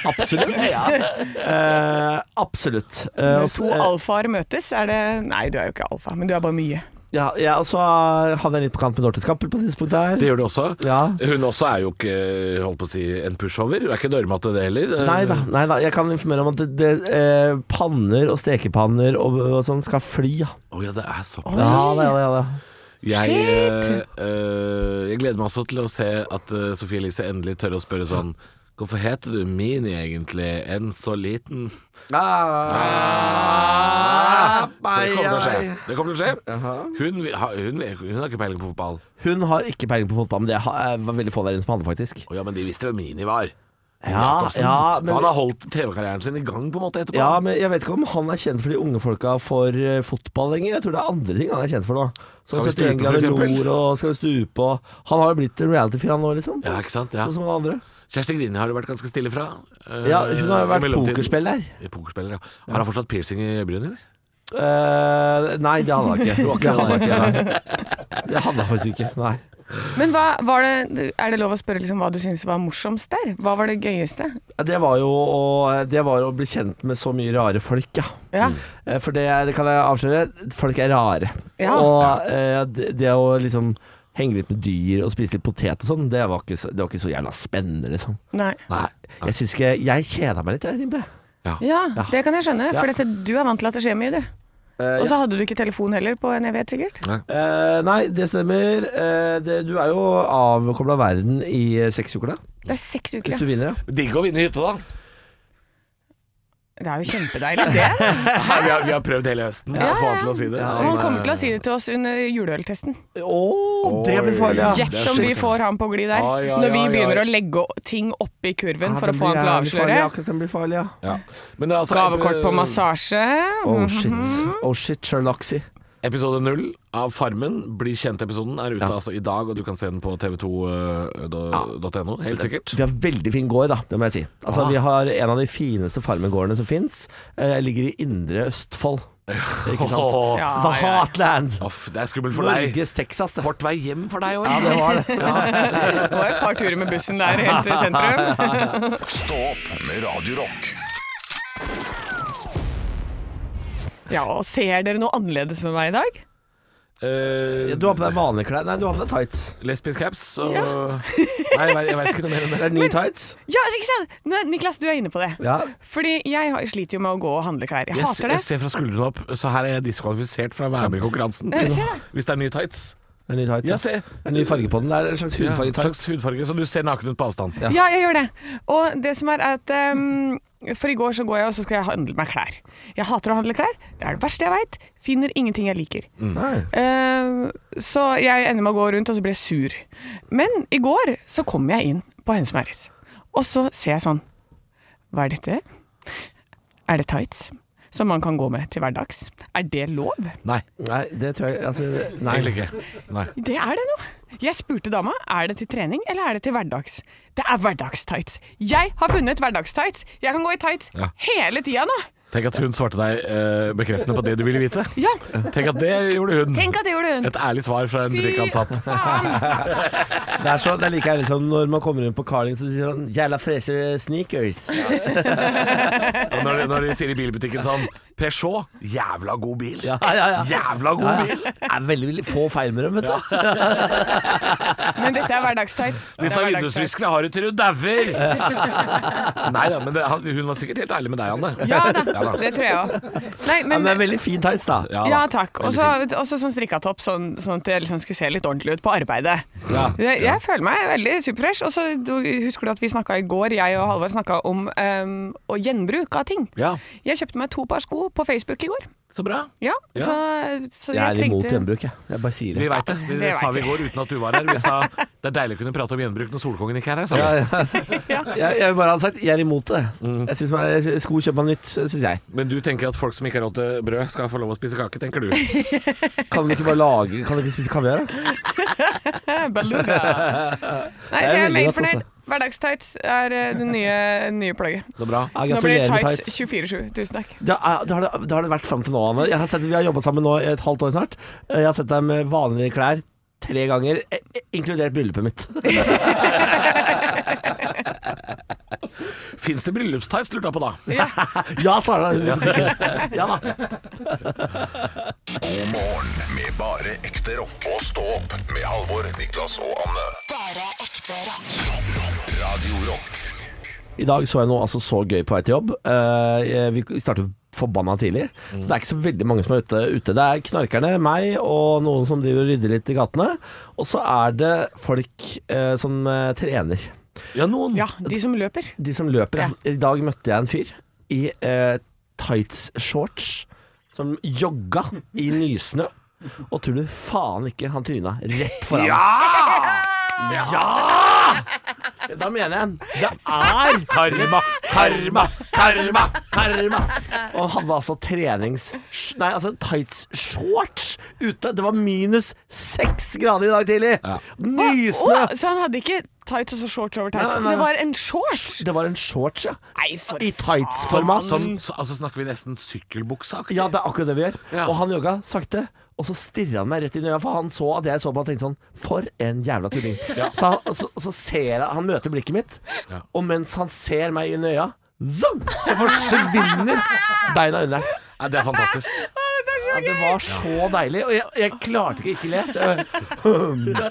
Speaker 3: Absolutt. Eh, absolutt. Eh, og
Speaker 4: Når
Speaker 3: så-
Speaker 4: to alfaer møtes, er det Nei, du er jo ikke alfa, men du er bare mye.
Speaker 3: Ja, ja, og så havner jeg litt på kant med Dorte Skappel på det tidspunktet her.
Speaker 5: Det gjør du også.
Speaker 3: Ja.
Speaker 5: Hun også er jo ikke holdt på å si, en pushover. Hun er ikke dørmatte, det heller.
Speaker 3: Nei da, nei da, jeg kan informere om at det, det, eh, panner og stekepanner og, og sånn skal fly, ja.
Speaker 5: Å ja, det er såpass.
Speaker 3: Ja, det, ja, det, ja, det.
Speaker 5: Jeg, eh, eh, jeg gleder meg også til å se at eh, Sophie Elise endelig tør å spørre sånn Hvorfor heter du Mini egentlig? En så liten
Speaker 3: Ah,
Speaker 5: Det kommer til å skje. Det kommer til å skje. Hun, vil- ha- hun, vil- hun har ikke peiling på fotball.
Speaker 3: Hun har ikke peiling på fotball, men det har- eh, var veldig få der inne som hadde, faktisk.
Speaker 5: Å ja, men de visste hvem Mini var.
Speaker 3: Ja,
Speaker 5: Jacobsen.
Speaker 3: ja, men,
Speaker 5: Han har holdt TV-karrieren sin i gang på en måte etterpå.
Speaker 3: ja, men jeg vet ikke om han er kjent for de unge folka for eh, fotball lenger. Jeg tror det er andre ting han er kjent for nå. Som
Speaker 5: Skal vi
Speaker 3: 71
Speaker 5: stupe, for
Speaker 3: grader
Speaker 5: eksempel?
Speaker 3: nord og Skal vi stupe og Han har jo blitt en reality-fyr, han nå, liksom.
Speaker 5: Ja, ikke sant? Ja.
Speaker 3: Sånn som alle andre.
Speaker 5: Kjersti Grini har du vært ganske stille fra. eh,
Speaker 3: Ja, hun har jo
Speaker 5: i
Speaker 3: vært
Speaker 5: mellomtiden.
Speaker 3: pokerspiller.
Speaker 5: Pokerspiller, ja. Har han fortsatt piercing i øyebrynet, eller?
Speaker 3: Eh, nei, det hadde han ikke. Det hadde han ikke, nei. Det hadde han faktisk ikke. Nei.
Speaker 4: Men hva, var det, er det lov å spørre liksom hva du syns var morsomst der? Hva var det gøyeste?
Speaker 3: Det var jo å, det var å bli kjent med så mye rare folk, ja.
Speaker 4: Ja.
Speaker 3: Eh, For det, det kan jeg avsløre, folk er rare.
Speaker 4: Ja.
Speaker 3: Og eh, det, det å liksom henge litt med dyr og spise litt potet og sånn, det, var ikke så- det var ikke så jævla spennende, liksom.
Speaker 4: Nei.
Speaker 3: Nei, jeg syns ikke Jeg kjeda meg litt, jeg, Rimpe.
Speaker 4: Ja, det kan jeg skjønne, for
Speaker 3: Ja.
Speaker 4: dette, du er vant til at det skjer mye, du.
Speaker 3: Eh,
Speaker 4: Og så hadde du ikke telefon heller på en evighet, sikkert.
Speaker 3: Eh, nei, det stemmer. Eh, det, du er jo avkobla verden i eh, seks uker, da.
Speaker 4: Det er seks
Speaker 3: Hvis
Speaker 4: uker,
Speaker 3: du
Speaker 4: ja.
Speaker 3: vinner, ja.
Speaker 5: Digg å vinne hytte, da.
Speaker 4: Det er jo kjempedeilig, det.
Speaker 5: Ja, vi, har, vi har prøvd hele høsten å få han til å si det. eh,
Speaker 4: Og han kommer til å si det til oss under juleøltesten.
Speaker 3: Å, det blir farlig, ja.
Speaker 4: Gjett om vi får han på glid der,
Speaker 5: Ai, ai,
Speaker 4: når vi
Speaker 5: ai,
Speaker 4: begynner
Speaker 5: ai.
Speaker 4: å legge ting oppi kurven
Speaker 3: Ja,
Speaker 4: for å
Speaker 3: den
Speaker 4: få han
Speaker 3: blir
Speaker 4: til å
Speaker 3: jævlig farlig,
Speaker 4: avsløre.
Speaker 3: akkurat den blir farlig, ja.
Speaker 5: Ja. Men det er altså
Speaker 4: Gavekort på
Speaker 5: eh,
Speaker 4: massasje. Mm,
Speaker 3: Oh
Speaker 4: Mhm.
Speaker 3: shit. Oh shit, Sherlocksy.
Speaker 5: Episode null av Farmen, Bli kjent-episoden, er ute
Speaker 3: Ja.
Speaker 5: altså i dag, og du kan se den på tv2.no, helt sikkert.
Speaker 3: Vi har veldig fin gård, da, det må jeg si. Altså,
Speaker 5: Ah.
Speaker 3: Vi har en av de fineste farmegårdene som fins. Eh, ligger i indre Østfold. Ikke sant?
Speaker 5: Åh,
Speaker 4: Ja,
Speaker 3: The
Speaker 4: ja.
Speaker 3: Heartland!
Speaker 5: aff, det er skummelt for deg.
Speaker 3: Norges Texas. Det.
Speaker 5: Kort vei hjem for deg òg.
Speaker 3: Ja, det var det.
Speaker 4: Det var et par turer med bussen der helt til sentrum.
Speaker 2: Stå opp med Radio Rock.
Speaker 4: Ja, og Ser dere noe annerledes med meg i dag?
Speaker 3: Du har på deg vanlige klær. Nei, du har på deg tights.
Speaker 5: lesbisk Eh, caps og Nei, jeg vet- jeg vet ikke noe mer enn
Speaker 3: Det
Speaker 5: det.
Speaker 3: er nye tights.
Speaker 4: Ja, ikke sant? Nå, Niklas, du er inne på det.
Speaker 3: Ja.
Speaker 4: Fordi jeg har- sliter jo med å gå og handle klær. Jeg
Speaker 5: Jeg,
Speaker 4: hater
Speaker 5: jeg
Speaker 4: det.
Speaker 5: ser fra skuldrene opp, så her er jeg diskvalifisert fra å være med i konkurransen.
Speaker 4: Ja,
Speaker 5: Hvis,
Speaker 4: se det.
Speaker 5: hvis det er nye tights.
Speaker 3: Det er nye tights.
Speaker 5: Ja,
Speaker 3: Ja.
Speaker 5: se.
Speaker 3: Det er ny farge på den. Det er en slags
Speaker 5: Ja,
Speaker 3: hudfarge tights.
Speaker 5: slags hudfarge, så du ser naken ut på avstand.
Speaker 3: Ja.
Speaker 4: Ja, jeg gjør det. Og det som er at ehm, For i går så går jeg og så skal jeg handle meg klær. Jeg hater å handle klær. Det er det verste jeg veit. Finner ingenting jeg liker.
Speaker 3: Nei.
Speaker 4: Eh, så jeg ender med å gå rundt, og så blir jeg sur. Men i går så kom jeg inn på Hennes og Maurits, og så ser jeg sånn Hva er dette? Er det tights? Som man kan gå med til hverdags. Er det lov?
Speaker 5: Nei,
Speaker 3: Nei, det tror jeg altså, Nei.
Speaker 5: egentlig ikke. Nei.
Speaker 4: Det er det nå. Jeg spurte dama er det til trening eller er det til hverdags. Det er hverdagstights. Jeg har funnet hverdagstights. Jeg kan gå i tights
Speaker 5: Ja.
Speaker 4: hele tida nå.
Speaker 5: Tenk at hun svarte deg eh, bekreftende på det du ville vite.
Speaker 4: Ja,
Speaker 5: Tenk at det gjorde hun.
Speaker 4: tenk at det gjorde hun.
Speaker 5: Et ærlig svar fra en butikkansatt.
Speaker 3: Det er, så, det er like ærlig som når man kommer inn på Carling og sier sånn Jævla freshe sneakers.
Speaker 5: Og når, de- når de sier i bilbutikken sånn Peugeot, jævla god bil.
Speaker 3: Ja, ja, ja.
Speaker 5: Jævla god bil!
Speaker 3: Det er veldig, veldig få feil med dem, vet du.
Speaker 4: Men dette er hverdagstights. Det
Speaker 5: Disse
Speaker 4: er hverdagstights.
Speaker 5: vindusviskerne har du til du dauer! Nei da, men det, han, hun var sikkert helt ærlig med deg, Anne.
Speaker 4: Ja da, det tror jeg òg. Nei,
Speaker 3: Ja, men det
Speaker 4: men
Speaker 3: er veldig fin tights, da.
Speaker 5: Ja,
Speaker 4: Ja,
Speaker 5: da.
Speaker 4: takk. Og så sånn strikka topp, sånn, sånn at det liksom skulle se litt ordentlig ut på arbeidet. Jeg, jeg føler meg veldig superfresh. Og så du- husker du at vi snakka i går, jeg og Halvard snakka om ehm, å gjenbruk av ting.
Speaker 5: Ja,
Speaker 4: Jeg kjøpte meg to par sko på Facebook i går.
Speaker 5: så bra.
Speaker 4: Ja, Så, så
Speaker 3: Jeg er imot
Speaker 4: trengte-
Speaker 3: gjenbruk, jeg. Jeg bare sier
Speaker 5: Vi
Speaker 3: det.
Speaker 5: veit det. Vi, det
Speaker 4: Det
Speaker 5: sa
Speaker 4: vet
Speaker 5: vi i
Speaker 4: jeg.
Speaker 5: går uten at du var her. Vi sa det er deilig å kunne prate om gjenbruk når Solkongen ikke er her. Sa vi.
Speaker 3: Jeg, jeg vil bare ha sagt jeg er imot det. Jeg synes man, jeg, sko kjøper man nytt, syns jeg.
Speaker 5: Men du tenker at folk som ikke har råd til brød, skal få lov å spise kake, tenker du?
Speaker 3: Kan vi ikke bare lage Kan vi ikke spise kaviar, da?
Speaker 4: Eh, Beluga. Nei,
Speaker 3: Det er
Speaker 4: så jeg
Speaker 3: veldig
Speaker 4: er meget
Speaker 3: godt, altså.
Speaker 4: fornøyd. Hverdagstights er eh, det nye, nye plagget.
Speaker 5: Så bra.
Speaker 3: Ja,
Speaker 4: Nå blir det
Speaker 3: gratulerer med
Speaker 4: tights
Speaker 3: tights.
Speaker 4: 24-7. Tusen takk.
Speaker 3: Det, er, det, har det, det har det vært fram til nå, Anne. Jeg har sett, vi har jobba sammen nå i et halvt år snart. Eh, Jeg har sett deg med vanlige klær tre ganger, eh, eh, inkludert bryllupet mitt.
Speaker 5: Fins det bryllupstights, lurte jeg på da.
Speaker 3: Ja, Sara. Ja da.
Speaker 2: God morgen med bare ekte rock. Og stå opp med Halvor, Niklas og Anne.
Speaker 1: Bare ekte rock.
Speaker 2: Radio Rock.
Speaker 3: I dag så jeg noe altså så gøy på vei til jobb. Eh, vi starter forbanna tidlig, så det er ikke så veldig mange som er ute. ute. Det er knarkerne, meg og noen som driver og rydder litt i gatene. Og så er det folk eh, som eh, trener.
Speaker 5: Ja, noen.
Speaker 4: Ja, de som løper.
Speaker 3: De som løper. ja. I dag møtte jeg en fyr i eh, tights-shorts som jogga i nysnø. Og tror du faen ikke han tryna rett foran meg. Ja! Da mener jeg det er karma, karma, karma, karma. Og han hadde altså trenings... Nei, altså tights-shorts ute. Det var minus seks grader i dag tidlig. Nysnø.
Speaker 4: Å, så han hadde ikke tights og så shorts over tights.
Speaker 3: Nei, nei, nei.
Speaker 4: Det var en shorts!
Speaker 3: Det var en shorts, ja.
Speaker 4: Nei, for
Speaker 3: I tights-format.
Speaker 5: Som, så- altså snakker vi nesten sykkelbuksa. aktig.
Speaker 3: Ja, det er akkurat det vi gjør.
Speaker 5: Ja.
Speaker 3: Og han jogga sakte. Og så stirra han meg rett inn i øya, for han så at jeg så på han og tenkte sånn For en jævla tulling. Så, han, så, så ser jeg Han møter blikket mitt,
Speaker 5: Ja.
Speaker 3: og mens han ser meg inn i øya, zong, så forsvinner beina under.
Speaker 5: Nei, det er fantastisk.
Speaker 3: Ja, det var så deilig, og jeg, jeg klarte ikke å ikke le. Så jeg,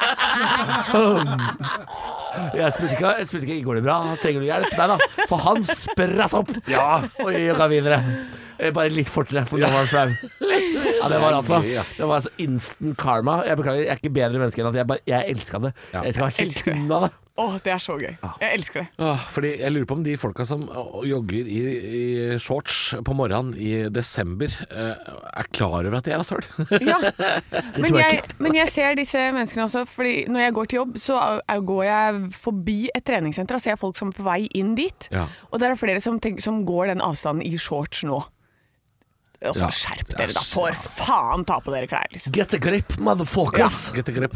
Speaker 3: jeg spurte ikke, jeg spurte ikke Går det bra. Trenger du hjelp? Nei da. For han spratt opp og jogga videre. Eh, Bare litt fortere, for nå var han flau. Ja, det var altså
Speaker 5: gøy, ass.
Speaker 3: Det var altså instant karma. Jeg beklager, jeg er ikke bedre menneske enn at jeg bare Jeg elska det.
Speaker 5: Ja.
Speaker 3: Jeg skal være
Speaker 4: Elsker det.
Speaker 3: sekund av det.
Speaker 4: Åh, det er så gøy. Jeg elsker det.
Speaker 5: Ah, Fordi jeg lurer på om de folka som å, jogger i, i shorts på morgenen i desember, eh, er klar over at de er rasshøl.
Speaker 4: Ja. Men,
Speaker 3: tror jeg
Speaker 4: jeg, men jeg ser disse menneskene også, Fordi når jeg går til jobb, så er- er- går jeg forbi et treningssenter og ser folk som er på vei inn dit.
Speaker 5: Ja.
Speaker 4: Og der er flere som, tenker, som går den avstanden i shorts nå. Og så
Speaker 5: Ja.
Speaker 4: skjerp
Speaker 5: Ja,
Speaker 4: dere, da! For faen, ta på dere klær, liksom.
Speaker 3: Get a grip, motherfuckers.
Speaker 5: Get a grip.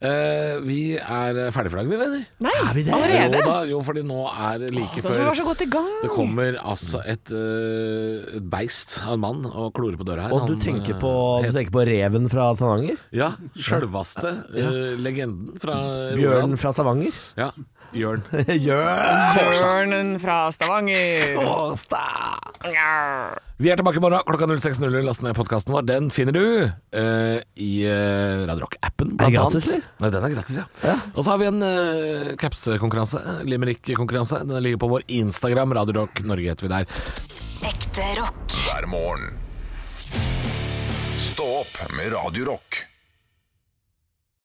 Speaker 5: Eh, vi er ferdig for dagen, vi venner.
Speaker 4: Nei,
Speaker 3: Er vi det?
Speaker 5: Jo,
Speaker 4: allerede?
Speaker 5: da, jo, fordi nå er det like
Speaker 4: Da skal vi
Speaker 5: før
Speaker 4: være så godt i
Speaker 5: det
Speaker 4: gang.
Speaker 5: kommer altså et, eh, et beist av en mann og klorer på døra her.
Speaker 3: Og du
Speaker 5: Han,
Speaker 3: tenker
Speaker 5: eh,
Speaker 3: på, du
Speaker 5: het-
Speaker 3: tenker på reven fra Tananger?
Speaker 5: Ja, sjølvaste eh, legenden fra
Speaker 3: Bjørnen
Speaker 5: Rogaland.
Speaker 3: fra Stavanger?
Speaker 5: Ja, Bjørn.
Speaker 3: Bjørn
Speaker 4: Bjørnen fra Stavanger.
Speaker 3: Kåstad!
Speaker 5: Vi er tilbake i morgen klokka 06.00. Last ned podkasten vår. Den finner du eh, i eh, Radio Rock-appen.
Speaker 3: Er det
Speaker 5: blant
Speaker 3: gratis,
Speaker 5: annet. Nei, den er gratis, ja. Og så har vi en eh, caps-konkurranse. Limerick-konkurranse. Den ligger på vår Instagram. Radio Rock Norge heter vi der.
Speaker 1: Ekte rock.
Speaker 2: hver morgen. Stå opp med Radio Rock.